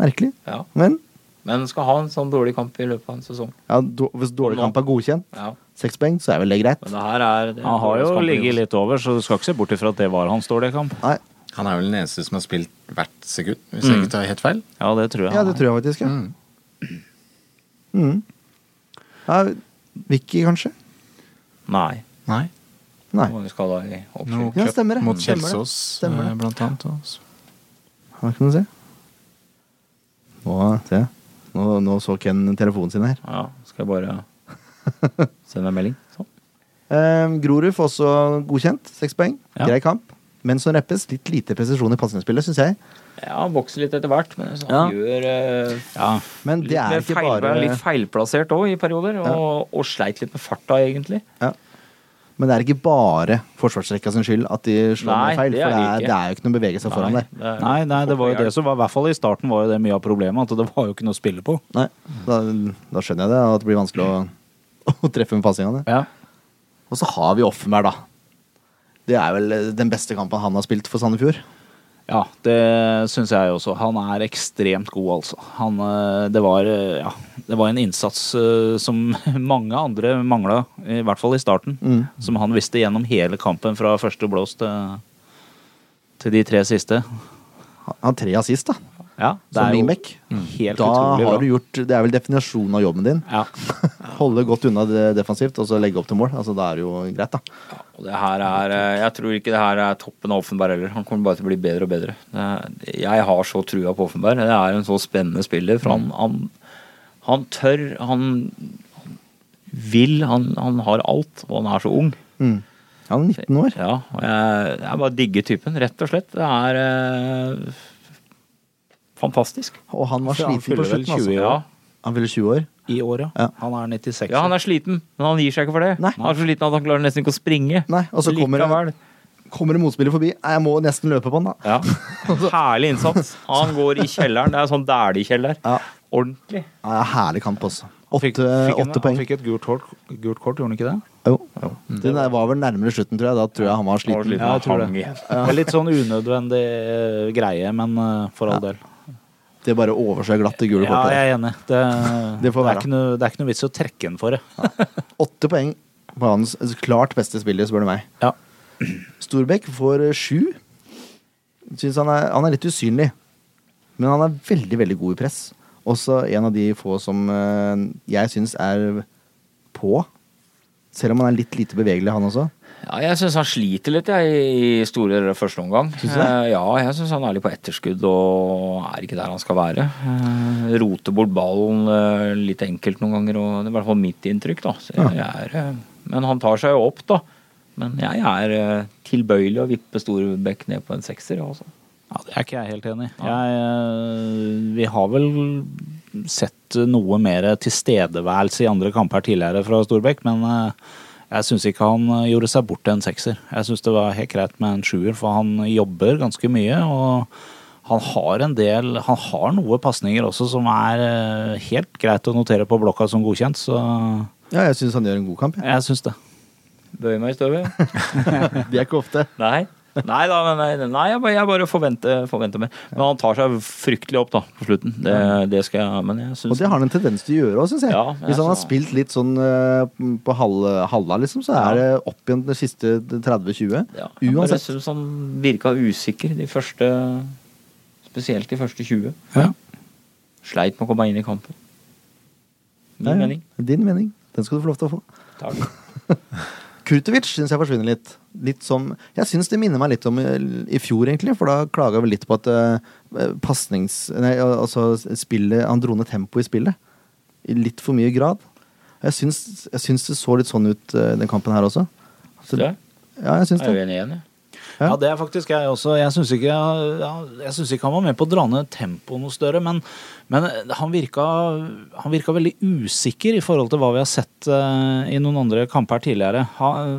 [SPEAKER 1] Merkelig.
[SPEAKER 4] Ja.
[SPEAKER 1] Men
[SPEAKER 4] Men skal ha en sånn dårlig kamp i løpet av en sesong.
[SPEAKER 1] ja, då- hvis dårlig kamp er godkjent,
[SPEAKER 4] Ja.
[SPEAKER 1] seks poeng, så er vel det greit.
[SPEAKER 4] Men det her er det er
[SPEAKER 2] Han har jo
[SPEAKER 4] kampen
[SPEAKER 2] ligget
[SPEAKER 4] i oss.
[SPEAKER 2] litt over, så du skal ikke se bort ifra at det var hans dårlige kamp.
[SPEAKER 1] Nei,
[SPEAKER 5] Han er vel den eneste som har spilt hvert sekund, hvis jeg ikke tar helt feil.
[SPEAKER 2] Ja, det tror jeg.
[SPEAKER 1] ja, det tror jeg faktisk. Ja. Mm. Ja, Vicky, kanskje?
[SPEAKER 4] Nei.
[SPEAKER 5] Nei.
[SPEAKER 1] Nei.
[SPEAKER 4] Mange skader i
[SPEAKER 5] Noe
[SPEAKER 4] oppkjøring.
[SPEAKER 1] Ja,
[SPEAKER 5] cup
[SPEAKER 1] stemmer det.
[SPEAKER 5] mot
[SPEAKER 1] Stemmer det.
[SPEAKER 5] Kjelsås,
[SPEAKER 1] Stemmer det.
[SPEAKER 5] eh, blant annet. og så-
[SPEAKER 1] Hva kan du se? Nå, se. Nå, nå så Ken telefonen sin her.
[SPEAKER 4] Ja, skal jeg bare sende en melding? Sånn.
[SPEAKER 1] Ehm, Grorud får også godkjent. Seks poeng.
[SPEAKER 2] Ja.
[SPEAKER 1] Grei kamp. Men som reppes, litt lite presisjon i pasningsspillet, syns jeg.
[SPEAKER 4] Ja, han vokser litt etter hvert, men altså, han
[SPEAKER 1] Ja.
[SPEAKER 4] gjør eh,
[SPEAKER 2] Ja.
[SPEAKER 1] Men
[SPEAKER 4] litt,
[SPEAKER 1] det er
[SPEAKER 4] mer
[SPEAKER 1] ikke
[SPEAKER 4] feil,
[SPEAKER 1] bare
[SPEAKER 4] litt feilplassert òg i perioder, og, og sleit litt med farta, egentlig.
[SPEAKER 1] ja. Men det er ikke bare forsvarsrekka sin skyld at de slår
[SPEAKER 4] Nei,
[SPEAKER 1] med feil.
[SPEAKER 4] det er
[SPEAKER 1] For det
[SPEAKER 4] det
[SPEAKER 1] er,
[SPEAKER 4] ikke.
[SPEAKER 1] det er jo ikke noe bevegelse foran der.
[SPEAKER 4] det er-
[SPEAKER 2] Nei, nei, det var jo det
[SPEAKER 4] Hjelp.
[SPEAKER 2] som var, i hvert fall i starten var jo det mye av problemet, at det var jo ikke noe å spille på.
[SPEAKER 1] Nei, da, da skjønner jeg det, at det blir vanskelig å, (laughs) å treffe med passingene.
[SPEAKER 2] Ja.
[SPEAKER 1] Og så har vi Offenberg, da. Det er vel eh, den beste kampen han har spilt for Sandefjord.
[SPEAKER 2] Ja, det syns jeg også. Han er ekstremt god, altså. Han, eh, det, var, eh, ja, det var en innsats eh, som (laughs) mange andre mangla, i hvert fall i starten.
[SPEAKER 1] Mm.
[SPEAKER 2] Som han visste gjennom hele kampen, fra første blås til, til de tre siste.
[SPEAKER 1] Han har tre assist, da.
[SPEAKER 2] Ja, det
[SPEAKER 1] Som
[SPEAKER 2] er jo
[SPEAKER 1] wingback.
[SPEAKER 2] helt
[SPEAKER 1] Da
[SPEAKER 2] utrolig bra.
[SPEAKER 1] har du gjort Det er vel definisjonen av jobben din. (laughs)
[SPEAKER 2] Ja.
[SPEAKER 1] Holde godt unna det defensivt og så legge opp til mål. Altså, da er det jo greit, da.
[SPEAKER 4] Ja, og det her er, eh, jeg tror ikke det her er toppen av Offenberg heller. Han kommer bare til å bli bedre og bedre. Det er- Jeg har så trua på Offenberg. Det er en så spennende spiller. For
[SPEAKER 1] Mm.
[SPEAKER 4] han, han, han tør, han, han vil, han, han har alt, og han er så ung.
[SPEAKER 1] Mm. Han er 19 år.
[SPEAKER 4] Ja, og jeg, jeg bare digger typen, rett og slett. Det er eh, Fantastisk.
[SPEAKER 1] Og han var
[SPEAKER 2] Ja, han
[SPEAKER 1] sliten på
[SPEAKER 2] fyller vel
[SPEAKER 1] slutten, altså.
[SPEAKER 2] 20
[SPEAKER 4] Ja.
[SPEAKER 2] år.
[SPEAKER 1] Han fyller 20 år.
[SPEAKER 2] I år, ja.
[SPEAKER 1] Ja.
[SPEAKER 2] Han er 96.
[SPEAKER 4] ja, han er sliten, men han gir seg ikke for det.
[SPEAKER 1] Nei.
[SPEAKER 4] Han er så sliten at han klarer nesten ikke å springe.
[SPEAKER 1] Nei, og så kommer det-
[SPEAKER 4] Likevel.
[SPEAKER 1] Kommer en motspiller forbi, Nei, jeg må nesten løpe på han, da.
[SPEAKER 2] (laughs)
[SPEAKER 4] Ja. Herlig innsats. Han går i kjelleren. Det er sånn dæhlie-kjeller.
[SPEAKER 1] Ja.
[SPEAKER 4] Ordentlig.
[SPEAKER 1] Nei, det er herlig kamp, altså. Åtte
[SPEAKER 2] Fikk, fikk han,
[SPEAKER 1] åtte poeng.
[SPEAKER 2] han fikk Mm. et gult kort, gult kort, gjorde han ikke det?
[SPEAKER 1] Jo. Den der var vel nærmere slutten, tror jeg. Da tror jeg han var
[SPEAKER 4] Han var
[SPEAKER 1] sliten.
[SPEAKER 4] sliten.
[SPEAKER 2] Ja, jeg tror
[SPEAKER 4] Han hang igjen.
[SPEAKER 2] Det er Litt sånn unødvendig eh, greie, men eh, for all del.
[SPEAKER 1] Det bare overser glatt det gule
[SPEAKER 2] Ja,
[SPEAKER 1] kortet.
[SPEAKER 2] jeg er enig. Det,
[SPEAKER 1] Det får
[SPEAKER 2] er
[SPEAKER 1] være.
[SPEAKER 2] ikke noe, det er ikke noe vits å trekke den for det.
[SPEAKER 1] Åtte poeng på hans klart beste spiller, spør du meg.
[SPEAKER 2] Ja.
[SPEAKER 1] Storbekk får eh, sju. Synes han, er, han er litt usynlig, men han er veldig, veldig god i press. Også en av de få som eh, jeg syns er på. Selv om han er litt lite bevegelig, han også.
[SPEAKER 4] Ja, jeg syns han sliter litt jeg, i store deler av første omgang.
[SPEAKER 1] du det?
[SPEAKER 4] Eh, Ja, jeg syns han er litt på etterskudd og er ikke der han skal være. Eh, Roter bort ballen eh, litt enkelt noen ganger, og det er i hvert fall mitt inntrykk. da. Så jeg, jeg er, eh, men han tar seg jo opp, da. Men jeg er eh, tilbøyelig å vippe Storbekk ned på en sekser. jeg, Altså.
[SPEAKER 2] Ja, det er ikke jeg helt enig i. Jeg, eh, Vi har vel sett noe mer tilstedeværelse i andre kamper tidligere fra Storbekk, men eh, jeg syns ikke han eh, gjorde seg bort til en sekser. Jeg syns det var helt greit med en sjuer, for han jobber ganske mye. og han har en del Han har noe pasninger også som er eh, helt greit å notere på blokka som godkjent, så
[SPEAKER 1] Ja, jeg syns han gjør en god kamp. jeg. (laughs)
[SPEAKER 2] jeg syns det.
[SPEAKER 4] Bøyer meg i støvet.
[SPEAKER 1] Det er ikke ofte.
[SPEAKER 4] Nei. Nei da, men nei, nei, jeg bare, jeg bare forventer, forventer mer. Men han tar seg fryktelig opp da, på slutten. Det, det skal jeg, men jeg
[SPEAKER 1] Og
[SPEAKER 4] syns
[SPEAKER 1] det har han en tendens til å gjøre òg, syns jeg.
[SPEAKER 4] Ja, jeg
[SPEAKER 1] Hvis han har
[SPEAKER 4] så-
[SPEAKER 1] spilt litt sånn eh, på halv, halva, liksom, så er det opp igjen de siste 30-20.
[SPEAKER 4] Ja, jeg bare
[SPEAKER 1] Uansett.
[SPEAKER 4] syns han virka usikker de første Spesielt de første 20.
[SPEAKER 2] Ja.
[SPEAKER 4] Sleit med å komme inn i kampen. Min
[SPEAKER 1] Ja, ja.
[SPEAKER 4] mening.
[SPEAKER 1] Din mening. Den skal du få lov til å få.
[SPEAKER 4] Takk.
[SPEAKER 1] Kurtovic syns jeg forsvinner litt. Litt som, jeg syns det minner meg litt om i, i fjor, egentlig, for da klaga vi litt på at eh, pasnings... Nei, al- altså spillet Han dro ned tempoet i spillet. I litt for mye grad. Jeg syns, jeg syns det så litt sånn ut eh, den kampen her også. Så-
[SPEAKER 4] Det
[SPEAKER 1] ja, jeg syns
[SPEAKER 4] er
[SPEAKER 1] det.
[SPEAKER 4] jo enig igjen, jeg.
[SPEAKER 1] Ja.
[SPEAKER 2] Ja, det er faktisk jeg også. Jeg syns ikke, ja, jeg synes ikke han var med på å dra ned tempoet noe større, men, men han, virka, han virka veldig usikker i forhold til hva vi har sett eh, i noen andre kamper tidligere. Han,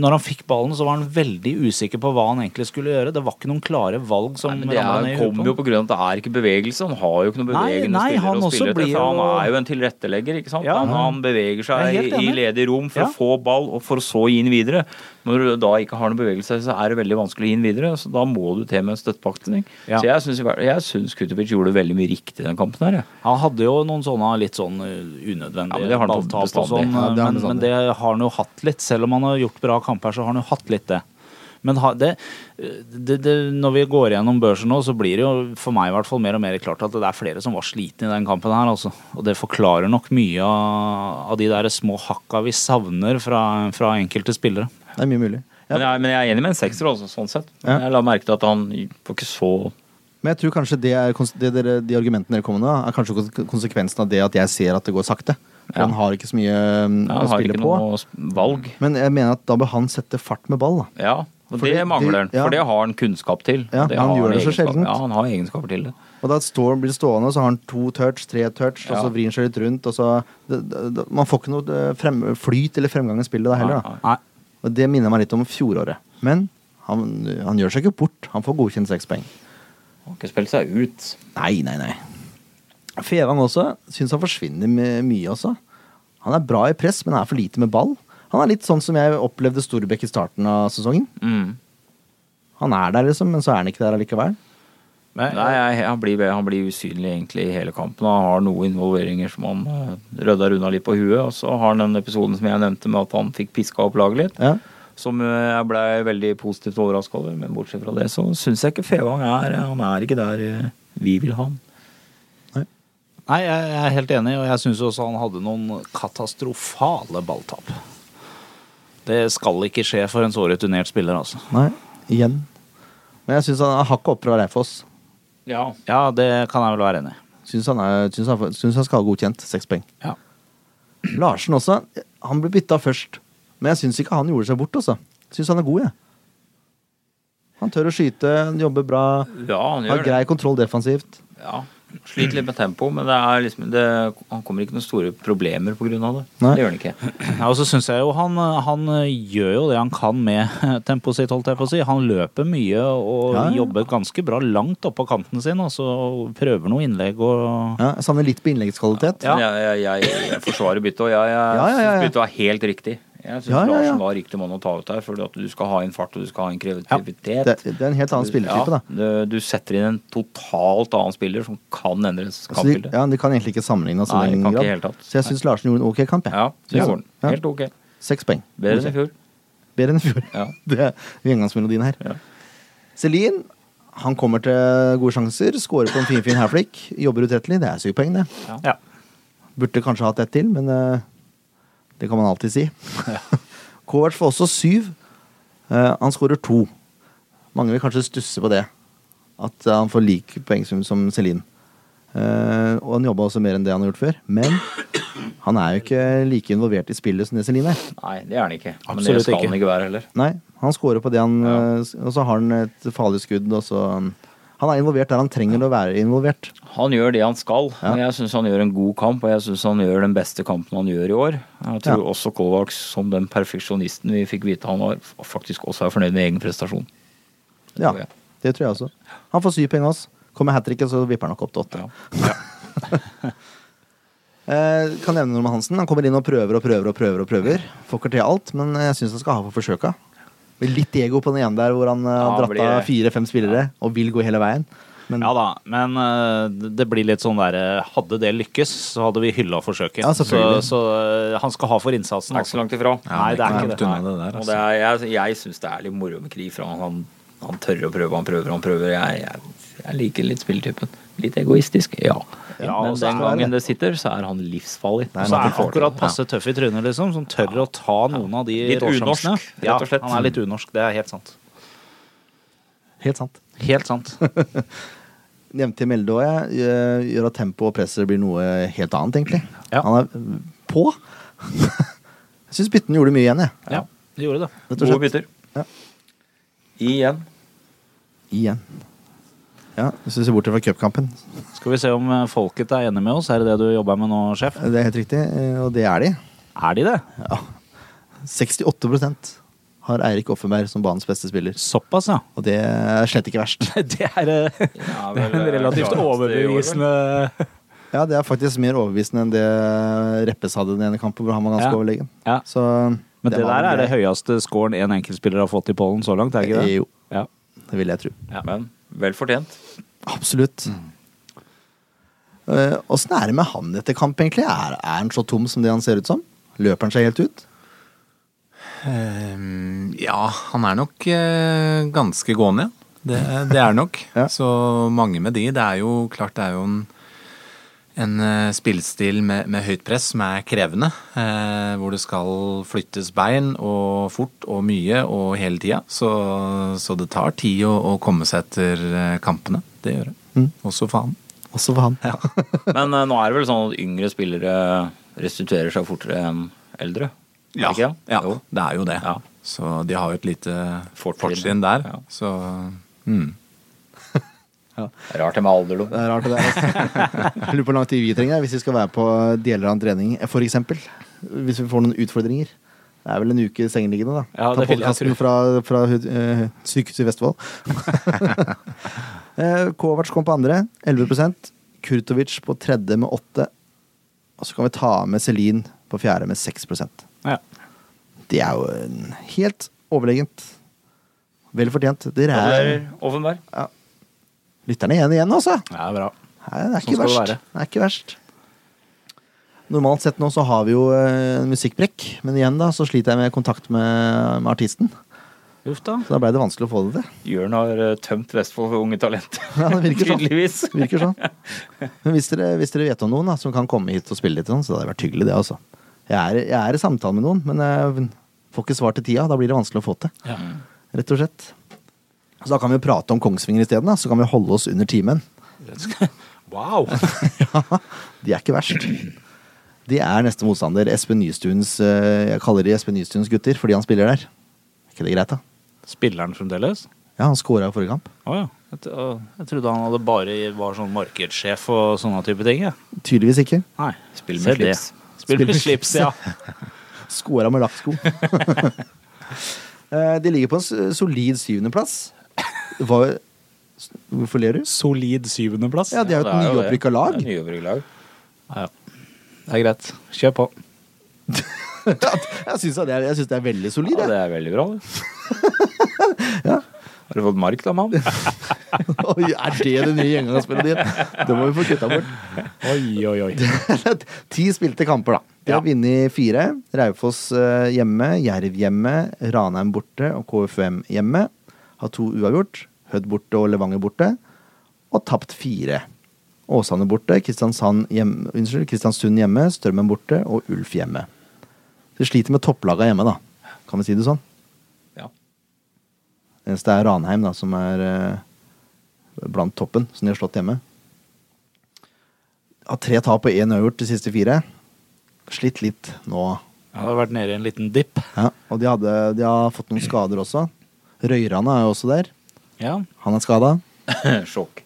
[SPEAKER 2] når han fikk ballen, så var han veldig usikker på hva han egentlig skulle gjøre. Det var ikke noen klare valg som
[SPEAKER 4] Nei, men det
[SPEAKER 2] ramla
[SPEAKER 4] er,
[SPEAKER 2] ned i huet på
[SPEAKER 4] kommer jo
[SPEAKER 2] ham.
[SPEAKER 4] på grunn av at det er ikke bevegelse. Han har jo ikke noen
[SPEAKER 2] Nei,
[SPEAKER 4] bevegende
[SPEAKER 2] nei, han
[SPEAKER 4] spillere å
[SPEAKER 2] også
[SPEAKER 4] spille
[SPEAKER 2] blir
[SPEAKER 4] til. For han
[SPEAKER 2] jo-
[SPEAKER 4] er jo en tilrettelegger, ikke sant.
[SPEAKER 2] Ja.
[SPEAKER 4] han, han beveger
[SPEAKER 2] Jeg er
[SPEAKER 4] seg
[SPEAKER 2] helt
[SPEAKER 4] i
[SPEAKER 2] enig.
[SPEAKER 4] ledig rom for
[SPEAKER 2] Ja.
[SPEAKER 4] å få ball, og for å så gi den videre. Når du da ikke har noen bevegelse, så er det veldig vanskelig å gi den videre. Så da må du til med en støttepakning.
[SPEAKER 2] Ja.
[SPEAKER 4] Så jeg syns, jeg syns Kutovic gjorde veldig mye riktig i den kampen her, jeg.
[SPEAKER 2] Han hadde jo noen sånne litt sånn eh,
[SPEAKER 4] Ja,
[SPEAKER 2] unødvendige
[SPEAKER 4] men det har han
[SPEAKER 2] balltap og
[SPEAKER 4] bestandig.
[SPEAKER 2] sånn,
[SPEAKER 1] Ja, det har han
[SPEAKER 2] men, men det har han jo hatt litt. Selv om han har gjort bra kamper, så har han jo hatt litt det. Men ha, det, eh, det, det, når vi går gjennom børsen nå, så blir det jo for meg i hvert fall mer og mer klart at det er flere som var slitne i den kampen her, altså. Og det forklarer nok mye av, av de der små hakka vi savner fra, fra enkelte spillere.
[SPEAKER 1] Det er mye mulig. Ja.
[SPEAKER 4] Men, jeg, men jeg er enig med en sekser også, sånn sett.
[SPEAKER 1] Ja.
[SPEAKER 4] Jeg la merke til at han får ikke så
[SPEAKER 1] Men jeg tror kanskje det er, kons- det dere, de argumentene dere kommer med, da, er kanskje kons- konsekvensen av det at jeg ser at det går sakte. For
[SPEAKER 4] Ja.
[SPEAKER 1] Han har ikke så mye um, å
[SPEAKER 4] ja, Han har
[SPEAKER 1] spille
[SPEAKER 4] ikke
[SPEAKER 1] på.
[SPEAKER 4] noe s- valg.
[SPEAKER 1] Men jeg mener at da bør han sette fart med ball. da.
[SPEAKER 4] Ja, og
[SPEAKER 1] Fordi
[SPEAKER 4] det mangler han.
[SPEAKER 1] det- ja.
[SPEAKER 4] For det har han kunnskap til.
[SPEAKER 1] Ja,
[SPEAKER 4] det
[SPEAKER 1] han
[SPEAKER 4] har
[SPEAKER 1] gjør det så
[SPEAKER 4] egenskap-
[SPEAKER 1] sjeldent.
[SPEAKER 4] Ja, han har egenskaper til det.
[SPEAKER 1] Og da står, blir det stående, og så har han to touch, tre touch, og
[SPEAKER 4] Ja.
[SPEAKER 1] så vrir han seg litt rundt. Og så, det, det, det, man får ikke noe eh, frem, flyt eller fremgang i spillet da heller.
[SPEAKER 4] Nei,
[SPEAKER 1] Da.
[SPEAKER 4] nei.
[SPEAKER 2] Nei,
[SPEAKER 1] Og det minner meg litt om fjoråret. Men han, han gjør seg ikke bort. Han får godkjent seks poeng.
[SPEAKER 4] Han har ikke spilt seg ut.
[SPEAKER 1] Nei, nei, nei. Fevang også syns han forsvinner med mye også. Han er bra i press, men er for lite med ball. Han er litt sånn som jeg opplevde Storbekk i starten av sesongen.
[SPEAKER 4] Mm.
[SPEAKER 1] Han er der, liksom, men så er han ikke der allikevel.
[SPEAKER 2] men,
[SPEAKER 4] Nei, jeg, han, blir, han blir usynlig egentlig i hele kampen. Han har noen involveringer som han eh, rydder unna litt på huet. Og så har han den episoden som jeg nevnte med at han fikk piska opp laget litt.
[SPEAKER 1] Ja.
[SPEAKER 4] Som eh, jeg blei veldig positivt overraska over. Men bortsett fra det så syns jeg ikke Fevang er Han er ikke der eh, vi vil ha han.
[SPEAKER 2] Nei, jeg jeg er helt enig, og jeg syns også han hadde noen katastrofale balltap. Det skal ikke skje for en så rutinert spiller, altså.
[SPEAKER 1] Nei, igjen. Men jeg syns han er hakket opp fra Reifoss.
[SPEAKER 4] Ja.
[SPEAKER 2] Ja, det kan jeg vel være enig i.
[SPEAKER 1] Syns han, er, syns han, syns han skal ha godkjent seks poeng.
[SPEAKER 2] Ja.
[SPEAKER 1] Larsen også. Han ble bytta først, men jeg syns ikke han gjorde seg bort. Også. Syns han er god, jeg. Han tør å skyte, han jobber bra,
[SPEAKER 4] Ja, han
[SPEAKER 1] har
[SPEAKER 4] gjør det.
[SPEAKER 1] grei kontroll defensivt.
[SPEAKER 4] ja, sliter litt med tempo, men det er liksom, det, han kommer ikke noen store problemer på grunn av det.
[SPEAKER 1] Nei.
[SPEAKER 4] Det gjør han ikke.
[SPEAKER 2] Ja, og så synes jeg jo han, han gjør jo det han kan med (laughs) tempoet sitt, holdt jeg på å si. Han løper mye og
[SPEAKER 1] Ja, ja.
[SPEAKER 2] jobber ganske bra langt oppå kanten sin, og så prøver noen innlegg og
[SPEAKER 1] Ja, jeg savner litt på innleggskvalitet.
[SPEAKER 4] Men Jeg, jeg, jeg, jeg forsvarer byttet, og jeg, jeg
[SPEAKER 1] Ja, ja, ja, ja.
[SPEAKER 4] synes byttet var helt riktig. Jeg syns
[SPEAKER 1] Ja, ja, ja.
[SPEAKER 4] Larsen var riktig mann å ta ut her, for at du skal ha inn fart og du skal ha inn kreativitet.
[SPEAKER 1] Det, det er en helt annen spilletype, da.
[SPEAKER 4] Ja, du, du setter inn en totalt annen spiller som kan endre
[SPEAKER 1] Så Altså, de,
[SPEAKER 4] kampbildet.
[SPEAKER 1] ja, de kan egentlig ikke sammenlignes i
[SPEAKER 4] Nei,
[SPEAKER 1] den
[SPEAKER 4] kan ikke i
[SPEAKER 1] grad.
[SPEAKER 4] hele tatt.
[SPEAKER 1] Så jeg syns Larsen gjorde en ok kamp. jeg.
[SPEAKER 4] Ja,
[SPEAKER 1] Ja.
[SPEAKER 4] det går den.
[SPEAKER 1] Ja.
[SPEAKER 4] Helt ok.
[SPEAKER 1] Seks poeng.
[SPEAKER 4] Bedre enn i fjor.
[SPEAKER 1] Bedre enn i fjor.
[SPEAKER 4] Ja.
[SPEAKER 1] (laughs) Det er gjengangsmelodien her.
[SPEAKER 4] Ja.
[SPEAKER 1] Celine han kommer til gode sjanser, scorer på en finfin herflikk, jobber utrettelig. Det er syv poeng, det.
[SPEAKER 2] Ja.
[SPEAKER 1] Burde kanskje hatt ett til, men eh, det kan man alltid si. (laughs) Kovac får også syv. Eh, han skårer to. Mange vil kanskje stusse på det, at eh, han får lik poengsum som Celine. Eh, og han jobba også mer enn det han har gjort før, men han er jo ikke like involvert i spillet som det Celine er.
[SPEAKER 4] Nei, det er han ikke. Men det
[SPEAKER 2] Absolutt
[SPEAKER 4] skal
[SPEAKER 2] ikke.
[SPEAKER 4] han ikke være heller.
[SPEAKER 1] Nei, han scorer på det han eh, s- Og så har han et farlig skudd, og så um, Han er involvert der han trenger å være involvert.
[SPEAKER 4] Han gjør det han skal.
[SPEAKER 1] Ja.
[SPEAKER 4] og Jeg syns han gjør en god kamp, og jeg syns han gjør den beste kampen han gjør i år. Jeg tror
[SPEAKER 1] Ja.
[SPEAKER 4] også Kovac, som den perfeksjonisten vi fikk vite han var, faktisk også er fornøyd med egen prestasjon. Det
[SPEAKER 1] Ja,
[SPEAKER 4] tror jeg.
[SPEAKER 1] det tror jeg også. Han får syv poeng av oss. Kommer hat tricket, så vipper han nok opp til åtte.
[SPEAKER 4] Ja.
[SPEAKER 1] (laughs) Eh, kan nevne Norman Hansen. Han kommer inn og prøver og prøver og prøver. og prøver Får ikke til alt, men jeg syns han skal ha for forsøka. Med litt ego på den ene der hvor han eh, har
[SPEAKER 4] Ja,
[SPEAKER 1] dratt
[SPEAKER 4] blir
[SPEAKER 1] av
[SPEAKER 4] det.
[SPEAKER 1] fire-fem spillere og vil gå hele veien. Men
[SPEAKER 2] ja da, men eh, det blir litt sånn derre Hadde det lykkes, så hadde vi hylla forsøket.
[SPEAKER 1] Ja,
[SPEAKER 2] så,
[SPEAKER 1] selvfølgelig.
[SPEAKER 2] så eh, han skal ha for
[SPEAKER 4] Han er ikke
[SPEAKER 2] innsatsen. Altså.
[SPEAKER 4] så langt ifra.
[SPEAKER 2] Nei, det er ikke
[SPEAKER 5] langt
[SPEAKER 2] det.
[SPEAKER 5] unna det
[SPEAKER 4] Og
[SPEAKER 5] der, altså.
[SPEAKER 4] det er, jeg jeg syns det er litt moro med Kri, for han, han, han tør å prøve, han prøver, han prøver. Jeg, jeg, jeg liker litt spilletypen. Litt egoistisk, ja.
[SPEAKER 2] Ja,
[SPEAKER 4] Men
[SPEAKER 2] og så
[SPEAKER 4] den
[SPEAKER 2] er
[SPEAKER 4] gangen det sitter, så er han livsfarlig.
[SPEAKER 1] Nei,
[SPEAKER 2] Så er
[SPEAKER 1] han
[SPEAKER 2] han akkurat passe tøff i trynet, liksom, som tør å ta noen av de
[SPEAKER 4] Litt
[SPEAKER 2] råsjansene.
[SPEAKER 4] unorsk, rett
[SPEAKER 2] Ja,
[SPEAKER 4] og slett.
[SPEAKER 2] han er litt unorsk, det er helt sant.
[SPEAKER 1] helt sant.
[SPEAKER 2] Helt sant.
[SPEAKER 1] Nevnte Melde òg, jeg. eh, Gjør at tempo og presset blir noe helt annet, egentlig.
[SPEAKER 2] Ja.
[SPEAKER 1] Han er eh, på. (laughs) jeg syns bytten gjorde mye igjen, jeg.
[SPEAKER 2] Ja, det gjorde det.
[SPEAKER 1] Rett og
[SPEAKER 4] Gode
[SPEAKER 1] slett.
[SPEAKER 4] bytter.
[SPEAKER 1] Ja.
[SPEAKER 4] Igjen.
[SPEAKER 1] Igjen. Ja, Hvis vi ser bort fra cupkampen.
[SPEAKER 2] Skal vi se om eh, folket er enig med oss? Er det det du jobber med nå, sjef?
[SPEAKER 1] Det er helt riktig, eh, og det er de.
[SPEAKER 2] Er de det?
[SPEAKER 1] Ja. 68 har Eirik Offenberg som banens beste spiller.
[SPEAKER 2] Såpass, ja.
[SPEAKER 1] Og det er slett ikke verst.
[SPEAKER 2] (laughs) Det er eh,
[SPEAKER 4] Ja,
[SPEAKER 1] (laughs)
[SPEAKER 4] vel,
[SPEAKER 2] det
[SPEAKER 4] eh,
[SPEAKER 2] er en
[SPEAKER 4] klareste i
[SPEAKER 2] relativt
[SPEAKER 4] år, vel?
[SPEAKER 2] overbevisende (laughs)
[SPEAKER 1] Ja, det er faktisk mer overbevisende enn det Reppes hadde den ene kampen, hvor han var ganske
[SPEAKER 2] Ja.
[SPEAKER 1] overlegen.
[SPEAKER 2] Ja.
[SPEAKER 1] Så
[SPEAKER 2] Men det
[SPEAKER 1] var
[SPEAKER 2] der
[SPEAKER 1] vel
[SPEAKER 2] er det
[SPEAKER 1] greit.
[SPEAKER 2] høyeste scoren en enkeltspiller har fått i pollen så langt, er ikke det?
[SPEAKER 1] Jo.
[SPEAKER 2] Ja.
[SPEAKER 1] Det vil jeg tro.
[SPEAKER 4] Men vel fortjent.
[SPEAKER 1] Absolutt. Eh, Åssen er det med han etter kamp, egentlig? Er, er han så tom som det han ser ut som? Løper han seg helt ut?
[SPEAKER 5] Ehm, ja, han er nok eh, ganske gående. Det, eh, det er nok.
[SPEAKER 1] (laughs) Ja.
[SPEAKER 5] Så mange med de. Det er jo klart det er jo en, en eh, spillestil med, med høyt press som er krevende. eh, hvor det skal flyttes bein og fort og mye og hele tida. Så, så det tar tid å, å komme seg etter eh, kampene. Det gjør det.
[SPEAKER 1] Mm.
[SPEAKER 5] Også faen.
[SPEAKER 1] Også for han.
[SPEAKER 4] Men eh, nå er det vel sånn at yngre spillere restituerer seg fortere enn eldre? Er det
[SPEAKER 5] Ja,
[SPEAKER 4] ikke det?
[SPEAKER 5] ja
[SPEAKER 4] Jo.
[SPEAKER 5] det er jo det.
[SPEAKER 4] Ja.
[SPEAKER 5] Så de har jo et lite
[SPEAKER 4] Fortrinn.
[SPEAKER 5] fortrinn der.
[SPEAKER 4] Ja.
[SPEAKER 5] Så mm.
[SPEAKER 4] Rart det med alder, da.
[SPEAKER 1] (laughs) Det er rart det der. altså. Jeg Lurer på hvor lang tid vi trenger hvis vi skal være på deler av en trening, for eksempel. Hvis vi får noen utfordringer. Det er vel en uke sengeliggende, da.
[SPEAKER 2] Ja, det
[SPEAKER 1] Ta
[SPEAKER 2] vil jeg
[SPEAKER 1] podcasten
[SPEAKER 2] tro.
[SPEAKER 1] fra, fra eh, sykehuset i Vestfold. (laughs) Eh, Kovac kom på andre, 11 Kurtovic på tredje med 8 Og så kan vi ta med Celine på fjerde med 6
[SPEAKER 2] Ja.
[SPEAKER 1] Det er jo en helt overlegent. Vel fortjent. Dere er
[SPEAKER 4] Gratulerer, Offenberg.
[SPEAKER 1] lytterne igjen igjen, altså.
[SPEAKER 2] Det er bra.
[SPEAKER 1] Nei, det er
[SPEAKER 2] Sånn
[SPEAKER 1] ikke
[SPEAKER 2] skal det
[SPEAKER 1] verst.
[SPEAKER 2] være.
[SPEAKER 1] Det er ikke verst. Normalt sett nå så har vi jo eh, en musikkbrekk, men igjen da så sliter jeg med kontakt med, med artisten.
[SPEAKER 2] Uff da.
[SPEAKER 1] Så da blei det vanskelig å få det til. (laughs)
[SPEAKER 4] Jørn har eh, tømt Vestfold for unge talent.
[SPEAKER 1] Ja, det virker sånn.
[SPEAKER 4] Tydeligvis.
[SPEAKER 1] Virker sånn. Men hvis dere, hvis dere vet om noen da, som kan komme hit og spille litt, og sånn, så hadde det vært hyggelig, det altså. Jeg er, jeg er i samtale med noen, men jeg får ikke svar til tida. Da blir det vanskelig å få til.
[SPEAKER 2] Mm.
[SPEAKER 1] Rett og slett. Så da kan vi jo prate om Kongsvinger isteden, da. Så kan vi holde oss under (laughs) timen.
[SPEAKER 2] Wow!
[SPEAKER 1] Ja, de er ikke verst. De er neste motstander. Espen Nystuens eh, Jeg kaller de Espen Nystuens gutter fordi han spiller der. Er ikke det greit, da?
[SPEAKER 2] Spiller han fremdeles?
[SPEAKER 1] Ja, han scora i forrige kamp.
[SPEAKER 2] Å ja. Jeg t- å, jeg trodde han hadde bare var sånn markedssjef og sånne type ting. Ja.
[SPEAKER 1] Tydeligvis ikke.
[SPEAKER 2] Nei,
[SPEAKER 4] Spill
[SPEAKER 2] se
[SPEAKER 4] med
[SPEAKER 2] det.
[SPEAKER 4] slips.
[SPEAKER 2] Spill med slips, ja.
[SPEAKER 1] Skåra med (laughs) lakksko. Eh, de ligger på en s- solid syvendeplass. Hva- s- Hvorfor ler du?
[SPEAKER 2] Solid syvendeplass.
[SPEAKER 1] Ja, de er jo et nyopprykka lag.
[SPEAKER 4] Nyopprykka lag.
[SPEAKER 2] Ja, ja. Det er greit. Kjør på.
[SPEAKER 1] (laughs) Jeg syns det, er- jeg synes det er veldig solid.
[SPEAKER 4] Ja,
[SPEAKER 1] jeg.
[SPEAKER 4] det er veldig bra, det.
[SPEAKER 1] (laughs)
[SPEAKER 4] Har du fått mark, da, mann?
[SPEAKER 1] Oi, er det det nye gjengangsspillet ditt? Det må vi få kutta bort.
[SPEAKER 2] Oi, oi, oi.
[SPEAKER 1] Ti spilte kamper, da. De har
[SPEAKER 2] Ja.
[SPEAKER 1] vunnet fire. Raufoss eh, hjemme, Jerv hjemme, Ranheim borte og KFUM hjemme. Har to uavgjort. Hødd borte og Levanger borte. Og tapt fire. Åsane borte, Kristiansand hjemme, unnskyld, Kristiansund hjemme, Strømmen borte og Ulf hjemme. Så de sliter med topplaga hjemme, da. Kan vi si det sånn?
[SPEAKER 4] Ja.
[SPEAKER 1] Det eneste er Ranheim, da, som er eh, blant toppen, som de har slått hjemme. Har tre tap og én uavgjort de siste fire. Slitt litt nå.
[SPEAKER 2] Jeg hadde vært nede i en liten dipp.
[SPEAKER 1] Ja, og de, hadde, de har fått noen skader også. Røyrane er jo også der.
[SPEAKER 2] Ja.
[SPEAKER 1] Han er skada.
[SPEAKER 4] (laughs) Sjokk.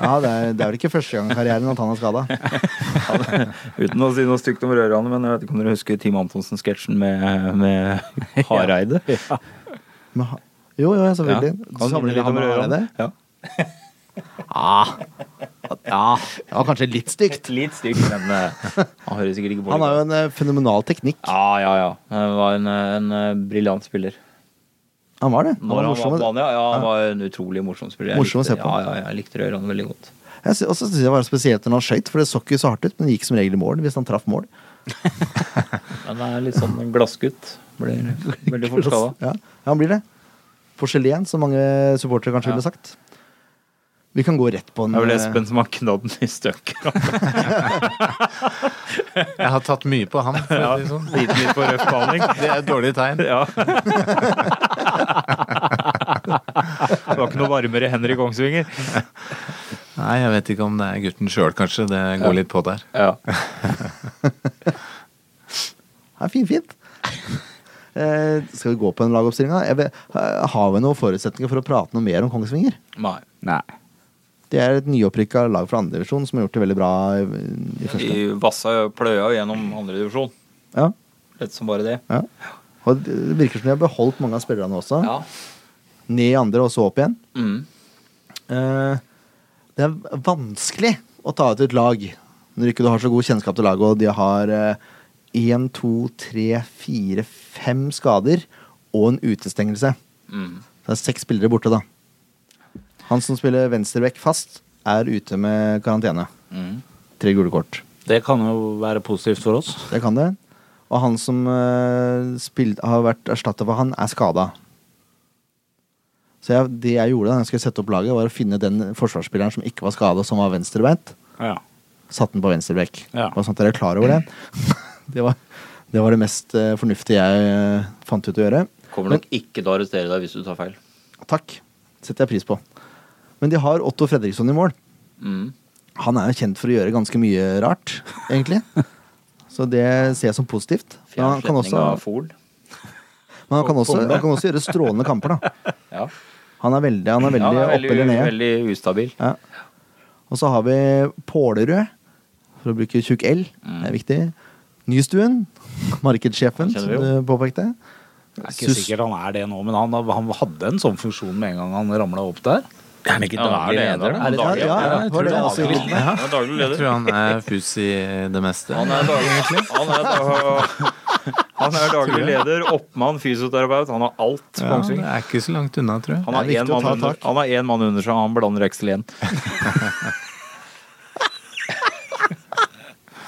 [SPEAKER 1] Ja, det er, det er vel ikke første gang i karrieren at han er skada.
[SPEAKER 4] Uten å si noe stygt om Rørane, men jeg vet ikke om dere husker Team Antonsen-sketsjen med,
[SPEAKER 1] (laughs)
[SPEAKER 4] med Hareide?
[SPEAKER 1] Jo, jo, ja, selvfølgelig.
[SPEAKER 4] Ja.
[SPEAKER 1] Du samler litt om Røyrane.
[SPEAKER 4] Ja.
[SPEAKER 1] Ja, det var kanskje litt stygt.
[SPEAKER 4] Litt stygt, men eh, han hører sikkert ikke på
[SPEAKER 1] Han har jo en eh, fenomenal teknikk.
[SPEAKER 4] Ja, ja, ja. Han var en, eh, en eh, briljant spiller.
[SPEAKER 1] Han var det. Han
[SPEAKER 4] Når
[SPEAKER 1] var
[SPEAKER 4] han var på
[SPEAKER 1] morsom.
[SPEAKER 4] banen, ja, ja, han var en utrolig morsom spiller. Jeg
[SPEAKER 1] Morsom å
[SPEAKER 4] likte-
[SPEAKER 1] se på.
[SPEAKER 4] Ja, ja, jeg likte Røran veldig godt.
[SPEAKER 1] Jeg sy- også synes jeg det var spesielt når han skøyt, for det så ikke så hardt ut, men det gikk som regel i mål hvis han traff mål.
[SPEAKER 4] Men han er litt sånn en glassgutt. Blir veldig fort skada.
[SPEAKER 1] Ja, ja, han blir det. Porselen, som mange supportere kanskje ville sagt. Vi kan gå rett på en eh,
[SPEAKER 4] Det er vel Espen som har knadd den i stykker.
[SPEAKER 5] Jeg har tatt mye på ham. For å si det sånn.
[SPEAKER 4] Liten litt på røff behandling.
[SPEAKER 5] Det er et dårlig tegn.
[SPEAKER 4] Ja. Det var ikke noe varmere hender i Kongsvinger.
[SPEAKER 5] Nei, jeg vet ikke om det er gutten sjøl, kanskje. Det går litt på der.
[SPEAKER 4] Ja.
[SPEAKER 1] Ja, fin, (laughs) fint. Eh, skal vi gå på en lagoppstilling, da? Jeg vet- eh, Har vi noen forutsetninger for å prate noe mer om Kongsvinger?
[SPEAKER 4] Nei.
[SPEAKER 2] Nei.
[SPEAKER 1] Det er et nyopprykka lag fra andredivisjon som har gjort det veldig bra i, i første.
[SPEAKER 4] De vassa jo- pløya jo gjennom andredivisjon.
[SPEAKER 1] Ja,
[SPEAKER 4] Rett som bare det.
[SPEAKER 1] ja. Og det virker som de har beholdt mange av spillerne også.
[SPEAKER 4] Ja.
[SPEAKER 1] Ned i andre og så opp igjen.
[SPEAKER 4] Mm.
[SPEAKER 1] Eh, det er vanskelig å ta ut et lag når ikke du har så god kjennskap til laget, og de har én, to, tre, fire, fem skader og en utestengelse.
[SPEAKER 4] Mm.
[SPEAKER 1] Det er seks spillere borte, da. Han som spiller venstreback fast, er ute med karantene.
[SPEAKER 4] Mm.
[SPEAKER 1] Tre gule kort.
[SPEAKER 2] Det kan jo være positivt for oss.
[SPEAKER 1] Det kan det. Og han som eh, spil- har vært erstatta for han, er skada. Så jeg, det jeg gjorde da jeg skulle sette opp laget, var å finne den forsvarsspilleren som ikke var skada, som var venstrebeint.
[SPEAKER 2] Ja.
[SPEAKER 1] Satte den på venstrebekk.
[SPEAKER 2] Ja.
[SPEAKER 1] Bare sånn at dere er klar over det. (laughs) det, var, det var det mest eh, fornuftige jeg eh, fant ut å gjøre.
[SPEAKER 4] Kommer nok ikke til å arrestere deg hvis du tar feil.
[SPEAKER 1] Takk. Setter jeg pris på. Men de har Otto Fredriksson i mål.
[SPEAKER 4] Mm.
[SPEAKER 1] Han er jo kjent for å gjøre ganske mye rart,
[SPEAKER 4] (laughs)
[SPEAKER 1] egentlig. Så det ser jeg som positivt. Men han kan
[SPEAKER 4] Fjernsletning
[SPEAKER 1] også,
[SPEAKER 4] av Fol.
[SPEAKER 1] men han kan også, han kan også gjøre strålende kamper, da.
[SPEAKER 4] Ja.
[SPEAKER 1] Han er veldig, han er veldig,
[SPEAKER 4] (laughs) Ja, han er
[SPEAKER 1] oppe eller nede.
[SPEAKER 4] veldig ustabil.
[SPEAKER 1] Ja. Og så har vi Pålerød, for å bruke tjukk L.
[SPEAKER 4] Mm.
[SPEAKER 1] Det er viktig. Nystuen. Markedssjefen,
[SPEAKER 4] kjenner
[SPEAKER 1] som
[SPEAKER 4] vi jo.
[SPEAKER 1] du påpekte.
[SPEAKER 2] Det er ikke
[SPEAKER 1] Sus-
[SPEAKER 2] sikkert han er det nå, men han, han hadde en sånn funksjon med en gang han ramla opp der. Er han ikke
[SPEAKER 4] Ja, han er daglig leder, da?
[SPEAKER 2] Er det,
[SPEAKER 1] Ja, ja, ja, det var
[SPEAKER 2] jeg tror
[SPEAKER 1] det jeg
[SPEAKER 2] det
[SPEAKER 1] også
[SPEAKER 2] var
[SPEAKER 1] gjorde.
[SPEAKER 4] Han er daglig
[SPEAKER 5] Jeg
[SPEAKER 4] leder.
[SPEAKER 5] tror han er fus i det meste.
[SPEAKER 4] Han er daglig, han er da- han er daglig leder, oppmann, fysioterapeut. Han har alt på
[SPEAKER 5] Ja, det
[SPEAKER 4] Kongsvinger.
[SPEAKER 5] er ikke så langt unna, tror jeg.
[SPEAKER 4] Han har
[SPEAKER 1] Det er
[SPEAKER 4] én
[SPEAKER 1] viktig å
[SPEAKER 4] mann,
[SPEAKER 1] ta
[SPEAKER 4] under-
[SPEAKER 1] tak.
[SPEAKER 4] han har en mann under seg, og han blander Excel igjen.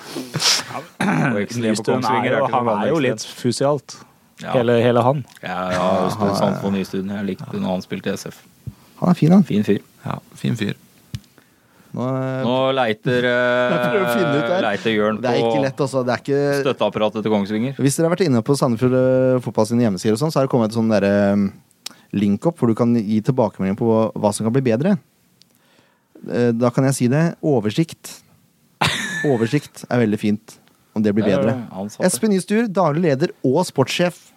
[SPEAKER 4] Og Excel igjen på
[SPEAKER 2] Nystuen er
[SPEAKER 4] Kongsvinger er
[SPEAKER 2] jo-
[SPEAKER 4] ikke noe
[SPEAKER 2] Han er jo
[SPEAKER 4] vanlig
[SPEAKER 2] litt fusialt,
[SPEAKER 4] Ja.
[SPEAKER 2] hele, hele han.
[SPEAKER 4] Ja, jeg har stor sans for Nystuen. Jeg likte når han spilte i SF.
[SPEAKER 1] Han er fin, han.
[SPEAKER 4] Fin fyr.
[SPEAKER 5] Ja, fin fyr.
[SPEAKER 1] Nå, eh,
[SPEAKER 4] Nå leiter, eh,
[SPEAKER 1] jeg prøver å finne ut der.
[SPEAKER 4] leiter Jørn
[SPEAKER 1] Det er
[SPEAKER 4] på
[SPEAKER 1] ikke lett, altså. Det er ikke
[SPEAKER 4] støtteapparatet til Kongsvinger.
[SPEAKER 1] Hvis dere har vært inne på Sandefjord eh, fotball sine hjemmesider, og sånn, så har det kommet et sånn derre eh, link opp hvor du kan gi tilbakemelding på hva- hva som kan bli bedre. Eh, Da kan jeg si det. Oversikt. Oversikt er veldig fint. Om det blir
[SPEAKER 4] Der er
[SPEAKER 1] bedre.
[SPEAKER 4] ansatte.
[SPEAKER 1] Espen Nystur, daglig leder og sportssjef.
[SPEAKER 2] (laughs)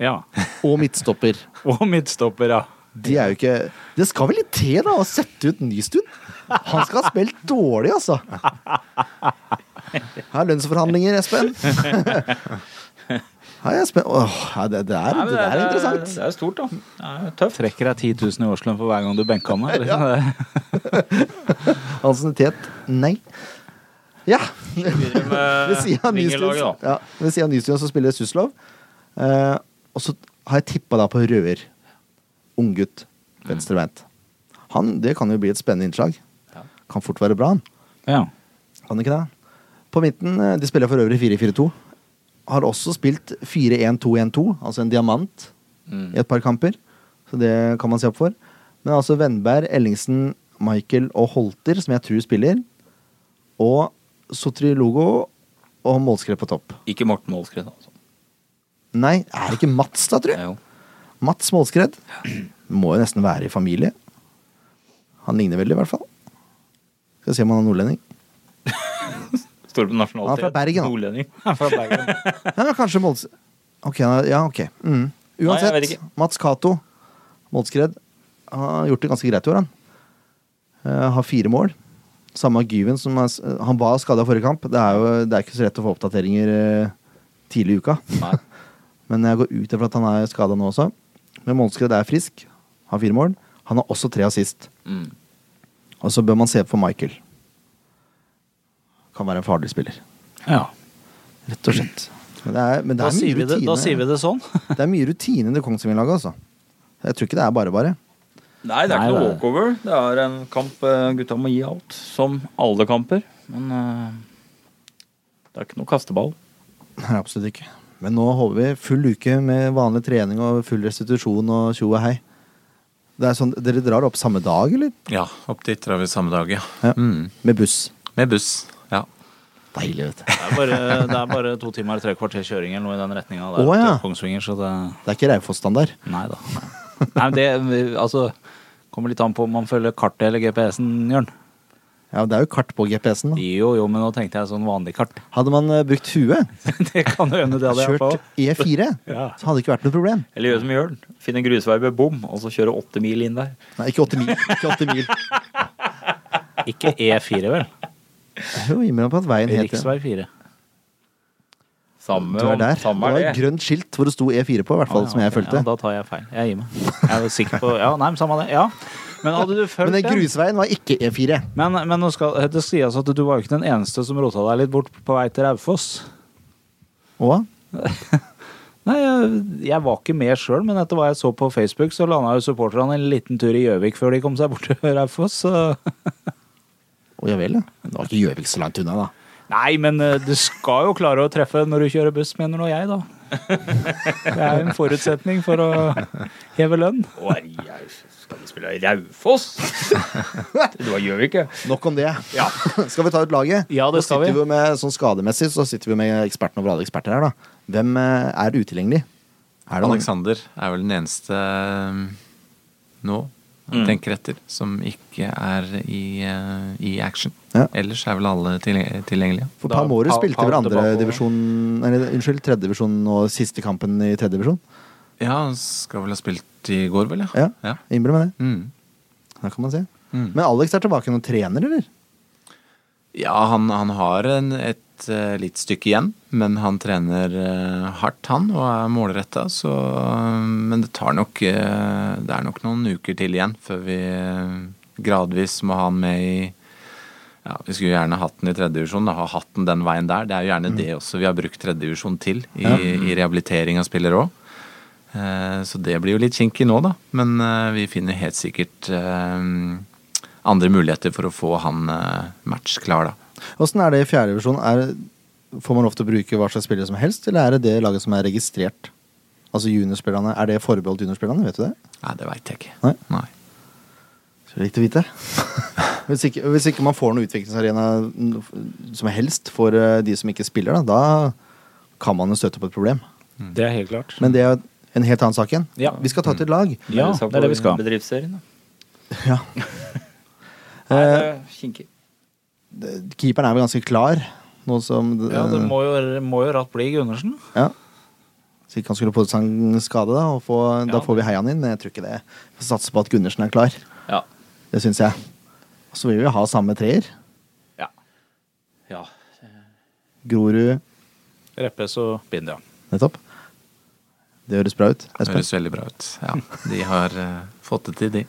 [SPEAKER 2] Ja.
[SPEAKER 1] Og midtstopper.
[SPEAKER 2] Og midtstopper, ja.
[SPEAKER 1] De er jo ikke Det skal vel litt til da å sette ut Nystuen? Han skal ha spilt dårlig, altså. Her er lønnsforhandlinger, Espen. Her er Espen. Åh, ja, det, det, er,
[SPEAKER 4] Nei, men
[SPEAKER 1] det der er interessant.
[SPEAKER 4] Det er stort, da. Det er tøft.
[SPEAKER 2] Trekker deg 10 000 i årslønn for hver gang du benka meg. Liksom.
[SPEAKER 1] Ansiennitet nei. Ja.
[SPEAKER 4] Videre med
[SPEAKER 1] (laughs) Ved siden av Nystuen,
[SPEAKER 4] vingelaget, da.
[SPEAKER 1] ja, ved siden av Nystuen så spiller Suslov. Eh, og så har jeg tippa da på Røer. Unggutt. Venstrebeint. Han, det kan jo bli et spennende innslag. Kan fort være bra, han.
[SPEAKER 2] Ja.
[SPEAKER 1] Kan ikke det? På midten, eh, de spiller for øvrig 4-4-2. Har også spilt 4-1-2-1-2, altså en diamant,
[SPEAKER 4] Mm.
[SPEAKER 1] i et par kamper. Så det kan man se opp for. Men altså Vennberg, Ellingsen, Michael og Holter, som jeg tror spiller. Og Sotrilogo og målskrev på topp.
[SPEAKER 4] Ikke Morten Målskred, altså.
[SPEAKER 1] Nei, er det ikke Mats, da, tror jeg?
[SPEAKER 4] Jo.
[SPEAKER 1] Mats Målskred. Må jo nesten være i familie. Han ligner veldig, i hvert fall. Skal se om han er nordlending.
[SPEAKER 4] Står på
[SPEAKER 1] Han er fra
[SPEAKER 4] nasjonalitet.
[SPEAKER 1] Bergen, han. (laughs)
[SPEAKER 4] Nordlending.
[SPEAKER 1] Nei, men kanskje Mols... Ok, han er- ja, ok. Mm. Uansett,
[SPEAKER 4] Nei, jeg vet ikke.
[SPEAKER 1] Mats Cato, Molskred, har gjort det ganske greit i år, han. Eh, har fire mål. Samme Gyven som er, s- eh, Han var skada forrige kamp. Det er jo det er ikke så lett å få oppdateringer eh, tidlig i uka.
[SPEAKER 4] Nei.
[SPEAKER 1] (laughs) Men jeg går ut ifra at han er skada nå også. Men Molskred er frisk, har fire mål. Han har også tre assist.
[SPEAKER 4] Mm.
[SPEAKER 1] Og så bør man se på Michael. Kan være en farlig spiller,
[SPEAKER 2] ja.
[SPEAKER 1] rett og slett. Men det er, men det
[SPEAKER 2] Da,
[SPEAKER 1] er mye
[SPEAKER 2] sier vi det, da
[SPEAKER 1] rutine.
[SPEAKER 2] sier vi det sånn.
[SPEAKER 1] Det er mye rutine i det Kongsvinger-laget, altså. Jeg tror ikke det er bare bare.
[SPEAKER 4] Nei, det er ikke
[SPEAKER 2] Nei,
[SPEAKER 4] noe
[SPEAKER 2] det er-
[SPEAKER 4] walkover. Det er en kamp eh, gutta må gi alt. Som alle kamper. Men eh, det er ikke noe kasteball.
[SPEAKER 1] Nei, absolutt ikke. Men nå håper vi full uke med vanlig trening og full restitusjon og tjo og hei. Det er sånn, dere drar opp samme dag, eller?
[SPEAKER 5] Ja, opp dit drar vi samme dag, ja.
[SPEAKER 1] Ja.
[SPEAKER 5] Mm.
[SPEAKER 1] Med buss.
[SPEAKER 5] Med buss. Ja.
[SPEAKER 1] Deilig, vet du.
[SPEAKER 2] Det er bare, det er bare to timer og tre kvarter kjøring eller noe i den retninga der.
[SPEAKER 1] Å, ja.
[SPEAKER 2] til Kongsvinger, så det
[SPEAKER 1] Det er ikke Raufoss-standard.
[SPEAKER 2] Nei da. Nei, men det altså Kommer litt an på om man følger kartet eller GPS-en, Jørn.
[SPEAKER 1] Ja, det er jo kart på GPS-en. da.
[SPEAKER 2] Jo, jo, men nå tenkte jeg sånn vanlig kart. (laughs)
[SPEAKER 1] Hadde man eh, brukt huet,
[SPEAKER 2] Det kan jo hende det hadde jeg på.
[SPEAKER 1] kjørt E4,
[SPEAKER 2] (laughs) Ja.
[SPEAKER 1] så hadde det ikke vært noe problem.
[SPEAKER 4] Eller gjør som Jørn. Finne grusvei ved bom, og så kjøre åtte mil inn der.
[SPEAKER 1] Nei, ikke åtte mil. Ikke åtte
[SPEAKER 2] (laughs)
[SPEAKER 1] mil.
[SPEAKER 2] Ikke E4,
[SPEAKER 1] Det
[SPEAKER 2] vel?
[SPEAKER 1] er Jo, innimellom på at veien heter
[SPEAKER 2] Riksvei 4.
[SPEAKER 4] Samme,
[SPEAKER 1] Du er der. Det
[SPEAKER 4] samme
[SPEAKER 1] var
[SPEAKER 4] er det.
[SPEAKER 1] et grønt skilt hvor det sto E4 på, i hvert fall, som jeg
[SPEAKER 2] ok,
[SPEAKER 1] følte.
[SPEAKER 2] Ah, Ja, da tar jeg feil. Jeg gir meg. Jeg er sikker på Ja, nei, men samme det. Ja. Men hadde du
[SPEAKER 1] Men
[SPEAKER 2] følt
[SPEAKER 1] den
[SPEAKER 2] den
[SPEAKER 1] grusveien var ikke E E4.
[SPEAKER 2] Men, men nå skal, det skal sies at du var jo ikke den eneste som rota deg litt bort på vei til Raufoss.
[SPEAKER 1] Og
[SPEAKER 2] Nei, jeg, jeg var ikke med sjøl, men etter hva jeg så på Facebook, så landa jo supporterne en liten tur i Gjøvik før de kom seg bort til Raufoss. så-
[SPEAKER 1] Å ja vel, ja. Det var ikke Gjøvik så langt unna, da.
[SPEAKER 2] Nei, men eh, du skal jo klare å treffe når du kjører buss, mener nå jeg, da. Det er jo en forutsetning for å heve lønn.
[SPEAKER 4] Å, jeg, skal vi spille i
[SPEAKER 1] (laughs)
[SPEAKER 4] Raufoss? det var gjør vi ikke.
[SPEAKER 1] Nok om det. (laughs) skal vi ta ut laget?
[SPEAKER 2] Ja, det
[SPEAKER 1] Nå
[SPEAKER 2] skal
[SPEAKER 1] sitter
[SPEAKER 2] vi.
[SPEAKER 1] jo med, sånn skademessig så sitter vi jo med eksperten over alle eksperter her, da. Hvem eh, er utilgjengelig? Er det noen-
[SPEAKER 5] Alexander er vel den eneste eh, nå,
[SPEAKER 4] Mm.
[SPEAKER 5] tenker etter, som ikke er i, eh, i action.
[SPEAKER 1] Ja.
[SPEAKER 5] Ellers er vel alle tilgje- tilgjengelige.
[SPEAKER 1] For
[SPEAKER 2] Da-
[SPEAKER 1] Palmore
[SPEAKER 2] Pa-
[SPEAKER 1] spilte
[SPEAKER 2] Paul
[SPEAKER 1] vel andre
[SPEAKER 2] tilbake.
[SPEAKER 1] divisjon Eller unnskyld, tredje divisjon og siste kampen i tredje divisjon.
[SPEAKER 5] Ja, han skal vel ha spilt i går, vel?
[SPEAKER 1] Ja. Innbill meg det.
[SPEAKER 5] Mm.
[SPEAKER 1] Da kan man se.
[SPEAKER 5] Mm.
[SPEAKER 1] Men Alex er tilbake som trener, eller?
[SPEAKER 5] Ja, han, han har en, et uh, litt stykke igjen, men han trener eh, hardt, han, og er målretta, så eh, Men det tar nok eh, Det er nok noen uker til igjen før vi eh, gradvis må ha han med i ja, Vi skulle gjerne hatt den i tredjedivisjon, ha hatt den den veien der. Det er jo gjerne det også vi har brukt tredjedivisjon til i, i rehabilitering av spillere òg. Så det blir jo litt kinkig nå, da. Men eh, vi finner helt sikkert eh, andre muligheter for å få han eh, matchklar, da.
[SPEAKER 1] Åssen er det i fjerde divisjon? Er, får man lov til å bruke hva slags spillere som helst, eller er det det laget som er registrert? Altså juniorspillerne, Er det forbeholdt juniorspillerne? Vet du det?
[SPEAKER 5] Nei, det veit jeg ikke.
[SPEAKER 1] Nei.
[SPEAKER 5] Nei.
[SPEAKER 1] Så det er viktig å
[SPEAKER 4] (laughs)
[SPEAKER 1] vite. hvis, ikke, hvis ikke man får noen utviklingsarena n- som helst for eh, de som ikke spiller, da, da kan man jo støte på et problem.
[SPEAKER 2] Det er helt klart.
[SPEAKER 1] Men det er jo en helt annen sak igjen.
[SPEAKER 2] Ja.
[SPEAKER 1] Vi skal ta ut et lag.
[SPEAKER 4] Mm.
[SPEAKER 2] Ja, det er det vi skal.
[SPEAKER 4] Bedriftsserien, da.
[SPEAKER 1] Ja.
[SPEAKER 4] Nei, det er kinkig.
[SPEAKER 1] Keeperen er vel ganske klar, nå som eh,
[SPEAKER 2] Ja, det må jo, må jo ratt bli Gundersen.
[SPEAKER 1] Ja. Så ikke han skulle pådra seg en skade, da, og få, da
[SPEAKER 4] Ja.
[SPEAKER 1] får vi heia han inn. Men jeg tror ikke det. Vi får satse på at Gundersen er klar.
[SPEAKER 4] Ja.
[SPEAKER 1] Det syns jeg. Og så vil vi ha samme treer.
[SPEAKER 4] Ja. ja.
[SPEAKER 1] Grorud,
[SPEAKER 2] Reppes og Bind, ja.
[SPEAKER 1] nettopp. Det høres bra ut.
[SPEAKER 5] Det
[SPEAKER 1] Espen?
[SPEAKER 5] høres veldig bra ut. Ja, de har eh, fått det til, de.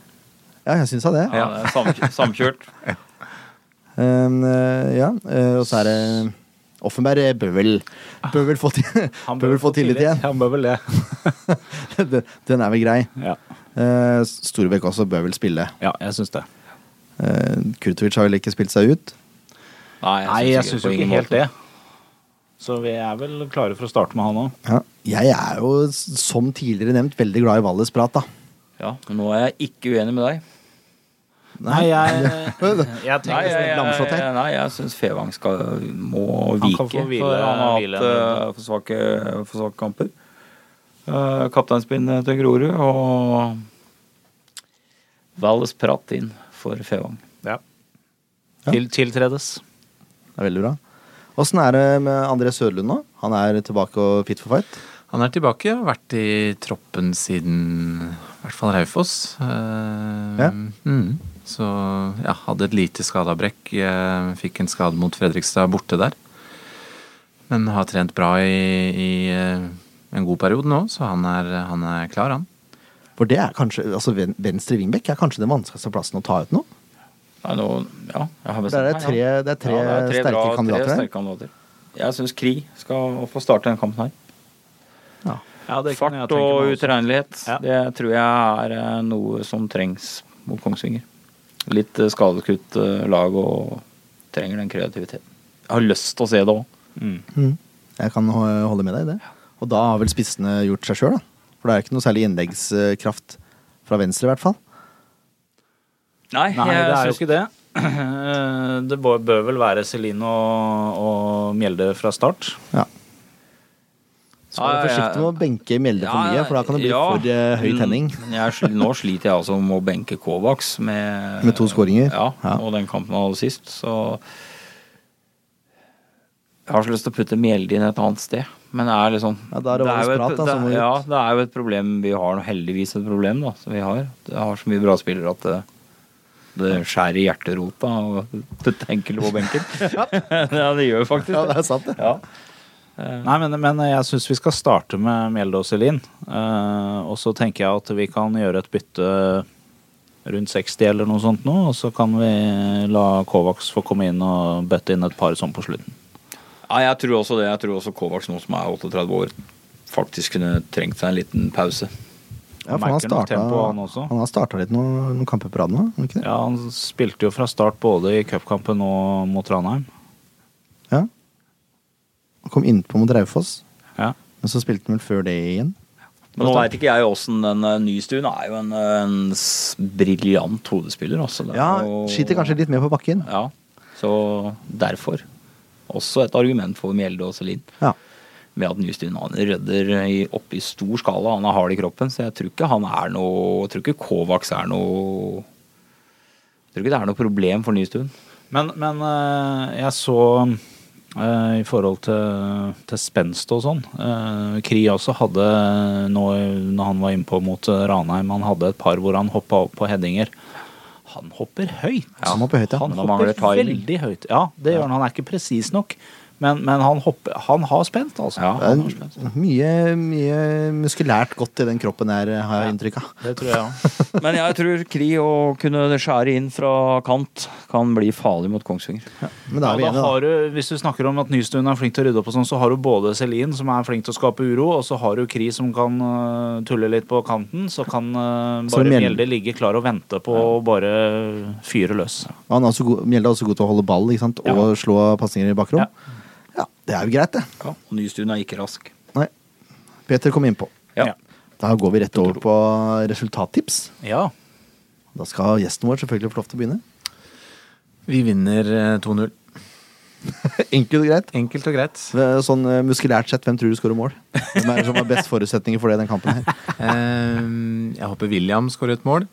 [SPEAKER 1] Ja, jeg syns da det.
[SPEAKER 4] ja det er (laughs) samkj- samkjørt.
[SPEAKER 1] Um, eh, ja, eh, og så er det Offenberg eh, bør vel, bør vel få, til, (laughs) bør vel få tillit igjen.
[SPEAKER 2] Han bør vel det.
[SPEAKER 1] Den- Den er vel grei.
[SPEAKER 2] Ja,
[SPEAKER 1] Eh, Storbekk også bør vel spille.
[SPEAKER 2] ja jeg syns det.
[SPEAKER 1] Eh, Kurtovic har vel ikke spilt seg ut.
[SPEAKER 2] Nei, jeg syns jo
[SPEAKER 4] på
[SPEAKER 2] ikke
[SPEAKER 4] ingen
[SPEAKER 2] helt
[SPEAKER 4] måte.
[SPEAKER 2] det. Så vi er vel klare for å starte med han òg.
[SPEAKER 1] Ja. Jeg er jo, s- som tidligere nevnt, veldig glad i Valles prat, da.
[SPEAKER 4] Ja, men nå er jeg ikke uenig med deg.
[SPEAKER 2] Nei,
[SPEAKER 1] (laughs)
[SPEAKER 2] jeg, jeg
[SPEAKER 4] Nei,
[SPEAKER 2] tenker sånn
[SPEAKER 4] jeg, jeg,
[SPEAKER 1] Lamslått
[SPEAKER 4] jeg,
[SPEAKER 1] her.
[SPEAKER 4] nei, jeg syns Fevang skal, må
[SPEAKER 2] Han
[SPEAKER 4] vike.
[SPEAKER 2] kan få hvile-
[SPEAKER 4] for han har
[SPEAKER 2] hvile
[SPEAKER 4] hatt eh, for, svake, for svake kamper. Uh, Kapteinspinnet til Grorud og Valles prat inn for Fevang.
[SPEAKER 2] ja. Til, tiltredes.
[SPEAKER 1] Det er veldig bra. Åssen er det med André Sørlund nå? Han er tilbake og fit for fight?
[SPEAKER 5] Han er tilbake, har vært i troppen siden i hvert fall Raufoss. Eh,
[SPEAKER 1] Ja.
[SPEAKER 5] mm. Så ja, hadde et lite skadeavbrekk. eh, Fikk en skade mot Fredrikstad borte der. Men har trent bra i, i eh, en god periode nå, så han er, han er klar, han.
[SPEAKER 1] For det er kanskje, altså ven- Venstre vingbekk er kanskje den vanskeligste plassen å ta ut nå.
[SPEAKER 4] Nei, nå, ja, jeg har
[SPEAKER 1] For Der er
[SPEAKER 4] meg,
[SPEAKER 1] tre,
[SPEAKER 4] ja.
[SPEAKER 1] det er tre,
[SPEAKER 4] Ja, det er
[SPEAKER 1] sterke
[SPEAKER 4] bra-
[SPEAKER 1] kandidater
[SPEAKER 4] Tre
[SPEAKER 1] her.
[SPEAKER 4] sterke kandidater. Jeg syns Krig skal få starte denne kampen her.
[SPEAKER 1] Ja.
[SPEAKER 2] Ja, det kunne jeg
[SPEAKER 4] Fart
[SPEAKER 2] tenke meg
[SPEAKER 4] og
[SPEAKER 2] også.
[SPEAKER 4] utregnelighet,
[SPEAKER 2] Ja.
[SPEAKER 4] det tror jeg er eh, noe som trengs mot Kongsvinger. Litt eh, skadekutt eh, lag og trenger den kreativiteten. Jeg har lyst til å se det òg.
[SPEAKER 2] Mm.
[SPEAKER 1] Mm. Jeg kan ho- holde med deg i det. Og da har vel spissene gjort seg sjøl, da. For det er jo ikke noe særlig innleggskraft fra venstre, i hvert fall.
[SPEAKER 4] Nei,
[SPEAKER 2] Nei, det er jo
[SPEAKER 4] synes-
[SPEAKER 2] ikke (clears throat) det. Det bør- bør vel være Celine og, og Mjelde fra start.
[SPEAKER 1] Ja. Så vær
[SPEAKER 4] Ja, ja,
[SPEAKER 1] forsiktig med å benke Mjelde for
[SPEAKER 4] Ja,
[SPEAKER 1] mye, for da kan det bli
[SPEAKER 4] ja. Mm.
[SPEAKER 1] for eh, høy tenning.
[SPEAKER 4] Men jeg, sl- nå sliter jeg altså med å benke Kovacs med
[SPEAKER 1] Med to skåringer?
[SPEAKER 4] Ja,
[SPEAKER 1] Ja.
[SPEAKER 4] og den kampen han hadde sist, så Jeg har så lyst til å putte Mjelde inn et annet sted, men det er liksom
[SPEAKER 1] Ja, da er det
[SPEAKER 4] jo
[SPEAKER 1] Valles
[SPEAKER 4] et,
[SPEAKER 1] prat, da, som må ut.
[SPEAKER 4] ja, det er jo et problem vi har, nå, heldigvis et problem da, som vi har. Det har så mye bra spillere at det, det skjærer i hjerterota å putte enkelte på benken. (laughs)
[SPEAKER 1] (laughs)
[SPEAKER 4] ja, det gjør jo faktisk
[SPEAKER 1] Ja, det er sant, det.
[SPEAKER 4] Ja.
[SPEAKER 2] Nei, men, men jeg syns vi skal starte med Mjelde og Celine. Eh, og så tenker jeg at vi kan gjøre et bytte rundt 60 eller noe sånt nå. Og så kan vi la Kovacs få komme inn og bøtte inn et par sånn på slutten.
[SPEAKER 4] Ja, jeg tror også det. Jeg tror også Kovacs, nå som er 38 år, faktisk kunne trengt seg en liten pause.
[SPEAKER 1] Ja, for
[SPEAKER 2] Han
[SPEAKER 1] han,
[SPEAKER 2] merker nok
[SPEAKER 1] starta,
[SPEAKER 2] tempoet, han
[SPEAKER 1] han,
[SPEAKER 2] også.
[SPEAKER 1] har starta litt noen, noen kamper på rad nå, har han ikke det?
[SPEAKER 2] Ja, Han spilte jo fra start både i cupkampen og mot Ranheim.
[SPEAKER 1] Ja. Han kom innpå mot Raufoss,
[SPEAKER 2] Ja.
[SPEAKER 1] men så spilte han vel før det igjen.
[SPEAKER 4] Men nå veit ikke jeg åssen den eh, Nystuen er jo en, eh, en s- briljant hodespiller, altså. Det er
[SPEAKER 1] Ja,
[SPEAKER 4] jo-
[SPEAKER 1] Skiter kanskje litt mer på bakken.
[SPEAKER 4] Ja. Så derfor. Også et argument for Mjelde og Selin.
[SPEAKER 1] Ja.
[SPEAKER 4] Med at Nystuen han rydder i- opp i stor skala. Han er hard i kroppen, så jeg tror ikke han er noe Jeg tror ikke Kovacs er noe Jeg tror ikke det er noe problem for Nystuen.
[SPEAKER 2] Men, men eh, jeg så eh, i forhold til, til spenst og sånn eh, Kri også hadde, eh, nå, når han var innpå mot eh, Ranheim, han hadde et par hvor han hoppa opp på headinger. Han hopper høyt.
[SPEAKER 1] Han hopper høyt, ja.
[SPEAKER 2] Han
[SPEAKER 4] Men han mangler
[SPEAKER 2] hopper
[SPEAKER 4] timing.
[SPEAKER 2] veldig høyt. Ja, det gjør han. Han er ikke presis nok. Men, men han, hopper, han har spent, altså.
[SPEAKER 4] Ja,
[SPEAKER 1] Det er mye, mye muskulært godt i den kroppen her, har jeg inntrykk av.
[SPEAKER 2] Det tror jeg òg.
[SPEAKER 4] Men jeg tror Kri å kunne skjære inn fra kant kan bli farlig mot Kongsvinger.
[SPEAKER 1] Men da er vi
[SPEAKER 2] Ja, da
[SPEAKER 1] enige,
[SPEAKER 2] har du, hvis du snakker om at Nystuen er flink til å rydde opp, og sånn, så har du både Celine, som er flink til å skape uro, og så har du Kri, som kan øh, tulle litt på kanten. Så kan øh,
[SPEAKER 1] Så
[SPEAKER 2] bare
[SPEAKER 1] Mjelde-
[SPEAKER 2] Mjelde ligge klar og vente på å bare fyre løs.
[SPEAKER 1] da. Og Han er også god, Mjelde er også god til å holde ball ikke sant? og slå pasninger i bakrom. Ja. det er jo greit, det.
[SPEAKER 4] Ja. Nystuen er ikke rask.
[SPEAKER 1] Nei. Peter kom innpå.
[SPEAKER 4] Ja.
[SPEAKER 1] Da går vi rett over på resultattips.
[SPEAKER 2] Ja.
[SPEAKER 1] Da skal gjesten vår selvfølgelig få lov til å begynne.
[SPEAKER 5] Vi vinner eh, 2-0.
[SPEAKER 1] Enkelt og greit.
[SPEAKER 5] Enkelt og greit.
[SPEAKER 1] Sånn eh, muskulært sett, hvem tror du skårer mål? Hvem er det som har best forutsetninger for det i den kampen her?
[SPEAKER 5] Eh, jeg håper William skårer et mål.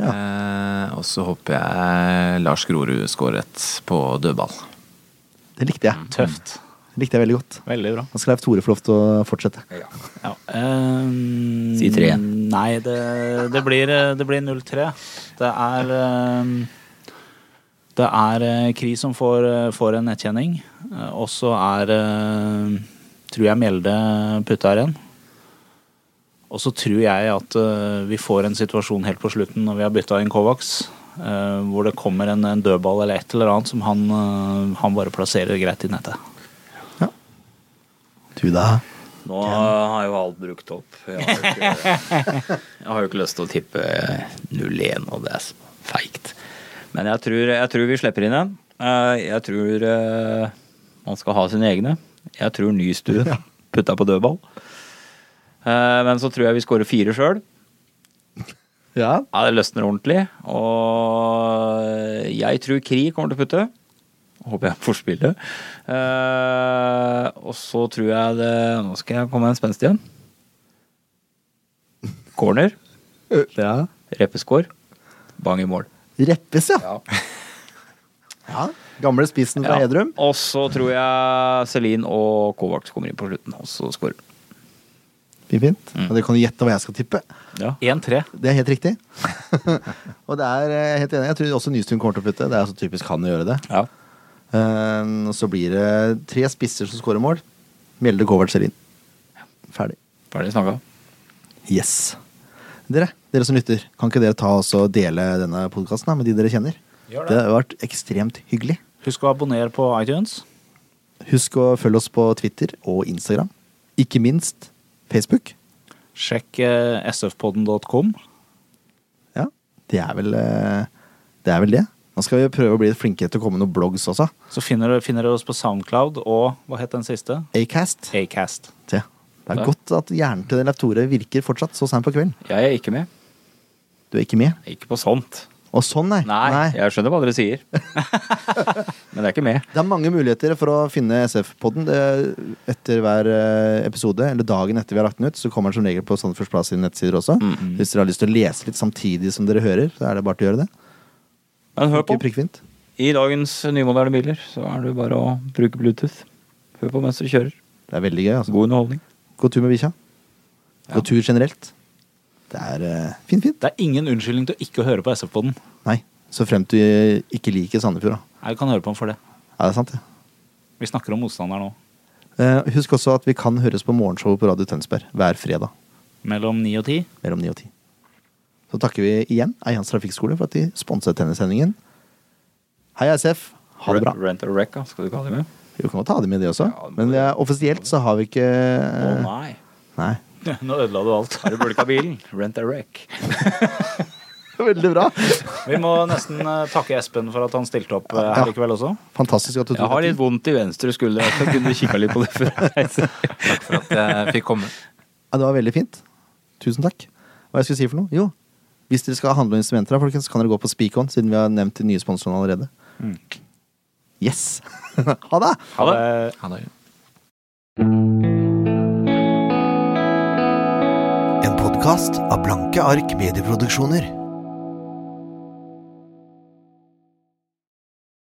[SPEAKER 1] Ja.
[SPEAKER 5] Eh, og så håper jeg Lars Grorud skårer et på dødball.
[SPEAKER 1] Det likte jeg.
[SPEAKER 4] Mm.
[SPEAKER 2] Tøft.
[SPEAKER 1] Likte jeg veldig godt.
[SPEAKER 2] Veldig bra.
[SPEAKER 1] Da skal Leif Tore få lov til å fortsette.
[SPEAKER 2] Ja. ehm,
[SPEAKER 4] Si tre.
[SPEAKER 2] Nei, det, det blir, eh, det blir 0-3. Det er ehm, Det er eh, Kri som får, eh, får en nettkjenning, eh, og så er eh, Tror jeg Mjelde putta her igjen. Og så tror jeg at eh, vi får en situasjon helt på slutten når vi har bytta inn Kovacs, eh, hvor det kommer en, en dødball eller et eller annet som han, eh, han bare plasserer greit i nettet.
[SPEAKER 1] Du da?
[SPEAKER 4] Nå har jo alt brukt opp. Jeg har jo ikke, jeg har jo ikke lyst til å tippe 0-1, og det er så feigt. Men jeg tror, jeg tror vi slipper inn en. Eh, Jeg tror eh, man skal ha sine egne. Jeg tror Nystuen putta på dødball. Eh, Men så tror jeg vi skårer fire sjøl.
[SPEAKER 1] Ja.
[SPEAKER 4] Ja, det løsner ordentlig. Og jeg tror Kri kommer til å putte. Håper jeg får spille. Eh, og så tror jeg det Nå skal jeg komme med en spenst igjen. Corner.
[SPEAKER 1] ja.
[SPEAKER 4] Reppeskår. Bang i mål.
[SPEAKER 1] Reppes, ja. ja. Gamle spissen fra
[SPEAKER 4] Ja.
[SPEAKER 1] Hedrum.
[SPEAKER 4] Og så tror jeg Celine og Kovacs kommer inn på slutten, og så scorer.
[SPEAKER 1] Fint, fint. Og dere kan jo gjette hva jeg skal tippe.
[SPEAKER 2] 1-3.
[SPEAKER 1] Det er helt riktig. (laughs) og det er eh, helt enig. Jeg tror også Nystuen kommer til å putte. Det er så typisk han å gjøre det.
[SPEAKER 4] Ja.
[SPEAKER 1] Eh, og så blir det tre spisser som skårer mål. Mjelde Kovac Serin. Ferdig.
[SPEAKER 4] Ferdig snakka.
[SPEAKER 1] Yes. Dere, dere som lytter, kan ikke dere ta oss og dele denne podkasten med de dere kjenner?
[SPEAKER 2] Gjør det.
[SPEAKER 1] det har vært ekstremt hyggelig.
[SPEAKER 2] Husk å abonnere på iTunes.
[SPEAKER 1] Husk å følge oss på Twitter og Instagram. Ikke minst Facebook.
[SPEAKER 2] Sjekk eh, sfpodden.com.
[SPEAKER 1] Ja, det er vel eh, det. er vel det. Nå skal vi prøve å bli flinkere til å komme med noen blogs også.
[SPEAKER 2] Så finner dere finner dere oss på Soundcloud og hva het den siste?
[SPEAKER 1] Acast.
[SPEAKER 2] Acast.
[SPEAKER 1] Se, Det er
[SPEAKER 4] Der.
[SPEAKER 1] godt at hjernen til Leif Tore virker fortsatt så seint på kvelden.
[SPEAKER 4] Jeg er ikke med.
[SPEAKER 1] Du er ikke med.
[SPEAKER 4] Ikke på sånt.
[SPEAKER 1] Og sånn, nei.
[SPEAKER 4] Nei,
[SPEAKER 1] Nei.
[SPEAKER 4] jeg skjønner hva
[SPEAKER 1] (laughs)
[SPEAKER 4] dere sier. Men det er ikke med.
[SPEAKER 1] Det er mange muligheter for å finne SF-podden. Det- Etter hver eh, episode, eller dagen etter vi har lagt den ut, så kommer den som regel på Sandefjords Plass sine nettsider også. Hvis dere har lyst til å lese litt samtidig som dere hører, så er det bare til å gjøre det.
[SPEAKER 4] Men hør på.
[SPEAKER 1] Ikke prikkfint.
[SPEAKER 4] I dagens nymoderne biler så er det jo bare å bruke Bluetooth. Hør på mens du kjører.
[SPEAKER 1] Det er veldig gøy. Altså.
[SPEAKER 4] God underholdning.
[SPEAKER 1] Gå tur med bikkja. Gå tur generelt. Det er eh, fint, fint.
[SPEAKER 2] Det er ingen unnskyldning til å ikke høre på SF-podden.
[SPEAKER 1] Nei, så fremt du eh, ikke liker Sandefjord, da.
[SPEAKER 2] Nei, Du kan høre på den for det.
[SPEAKER 1] Ja, det er sant, det.
[SPEAKER 2] Vi snakker om motstanderen nå.
[SPEAKER 1] Eh, Husk også at vi kan høres på morgenshowet på Radio Tønsberg hver fredag
[SPEAKER 2] Mellom 9 og 10.
[SPEAKER 1] mellom 9 og 10. Så takker vi igjen Eians Trafikkskole for at de sponset denne sendingen. Hei, SF. Ha det bra.
[SPEAKER 4] Re- Rent a wreck, da. skal du ikke ha det med?
[SPEAKER 1] Vi kan jo ta det med, det også.
[SPEAKER 4] det må
[SPEAKER 1] Men det er, offisielt så har vi ikke eh,
[SPEAKER 4] Å nei.
[SPEAKER 1] Nei.
[SPEAKER 2] (laughs) Nå ødela du alt.
[SPEAKER 4] Eh. Har du bulka bilen? Rent a wreck. (laughs)
[SPEAKER 1] Veldig bra.
[SPEAKER 2] Vi må nesten eh, takke Espen for at han stilte opp eh,
[SPEAKER 1] Ja.
[SPEAKER 2] her i kveld også.
[SPEAKER 1] Fantastisk at du
[SPEAKER 4] Jeg
[SPEAKER 1] tok
[SPEAKER 4] har
[SPEAKER 1] deg
[SPEAKER 4] litt
[SPEAKER 1] tid.
[SPEAKER 4] vondt i venstre skulder. Jeg kunne kikka litt på det
[SPEAKER 2] (laughs)
[SPEAKER 4] før jeg reiser.
[SPEAKER 5] Takk for at jeg fikk komme.
[SPEAKER 1] Ja, det var veldig fint. Tusen takk. Hva jeg skulle si for noe? Jo, hvis dere skal handle om instrumenter, da, folkens, så kan dere gå på Speakon, siden vi har nevnt de nye sponsorene allerede.
[SPEAKER 4] Mm.
[SPEAKER 1] Yes! (laughs) ha det!
[SPEAKER 4] Ha det.
[SPEAKER 5] Ha det.
[SPEAKER 6] En podkast av Blanke ark medieproduksjoner.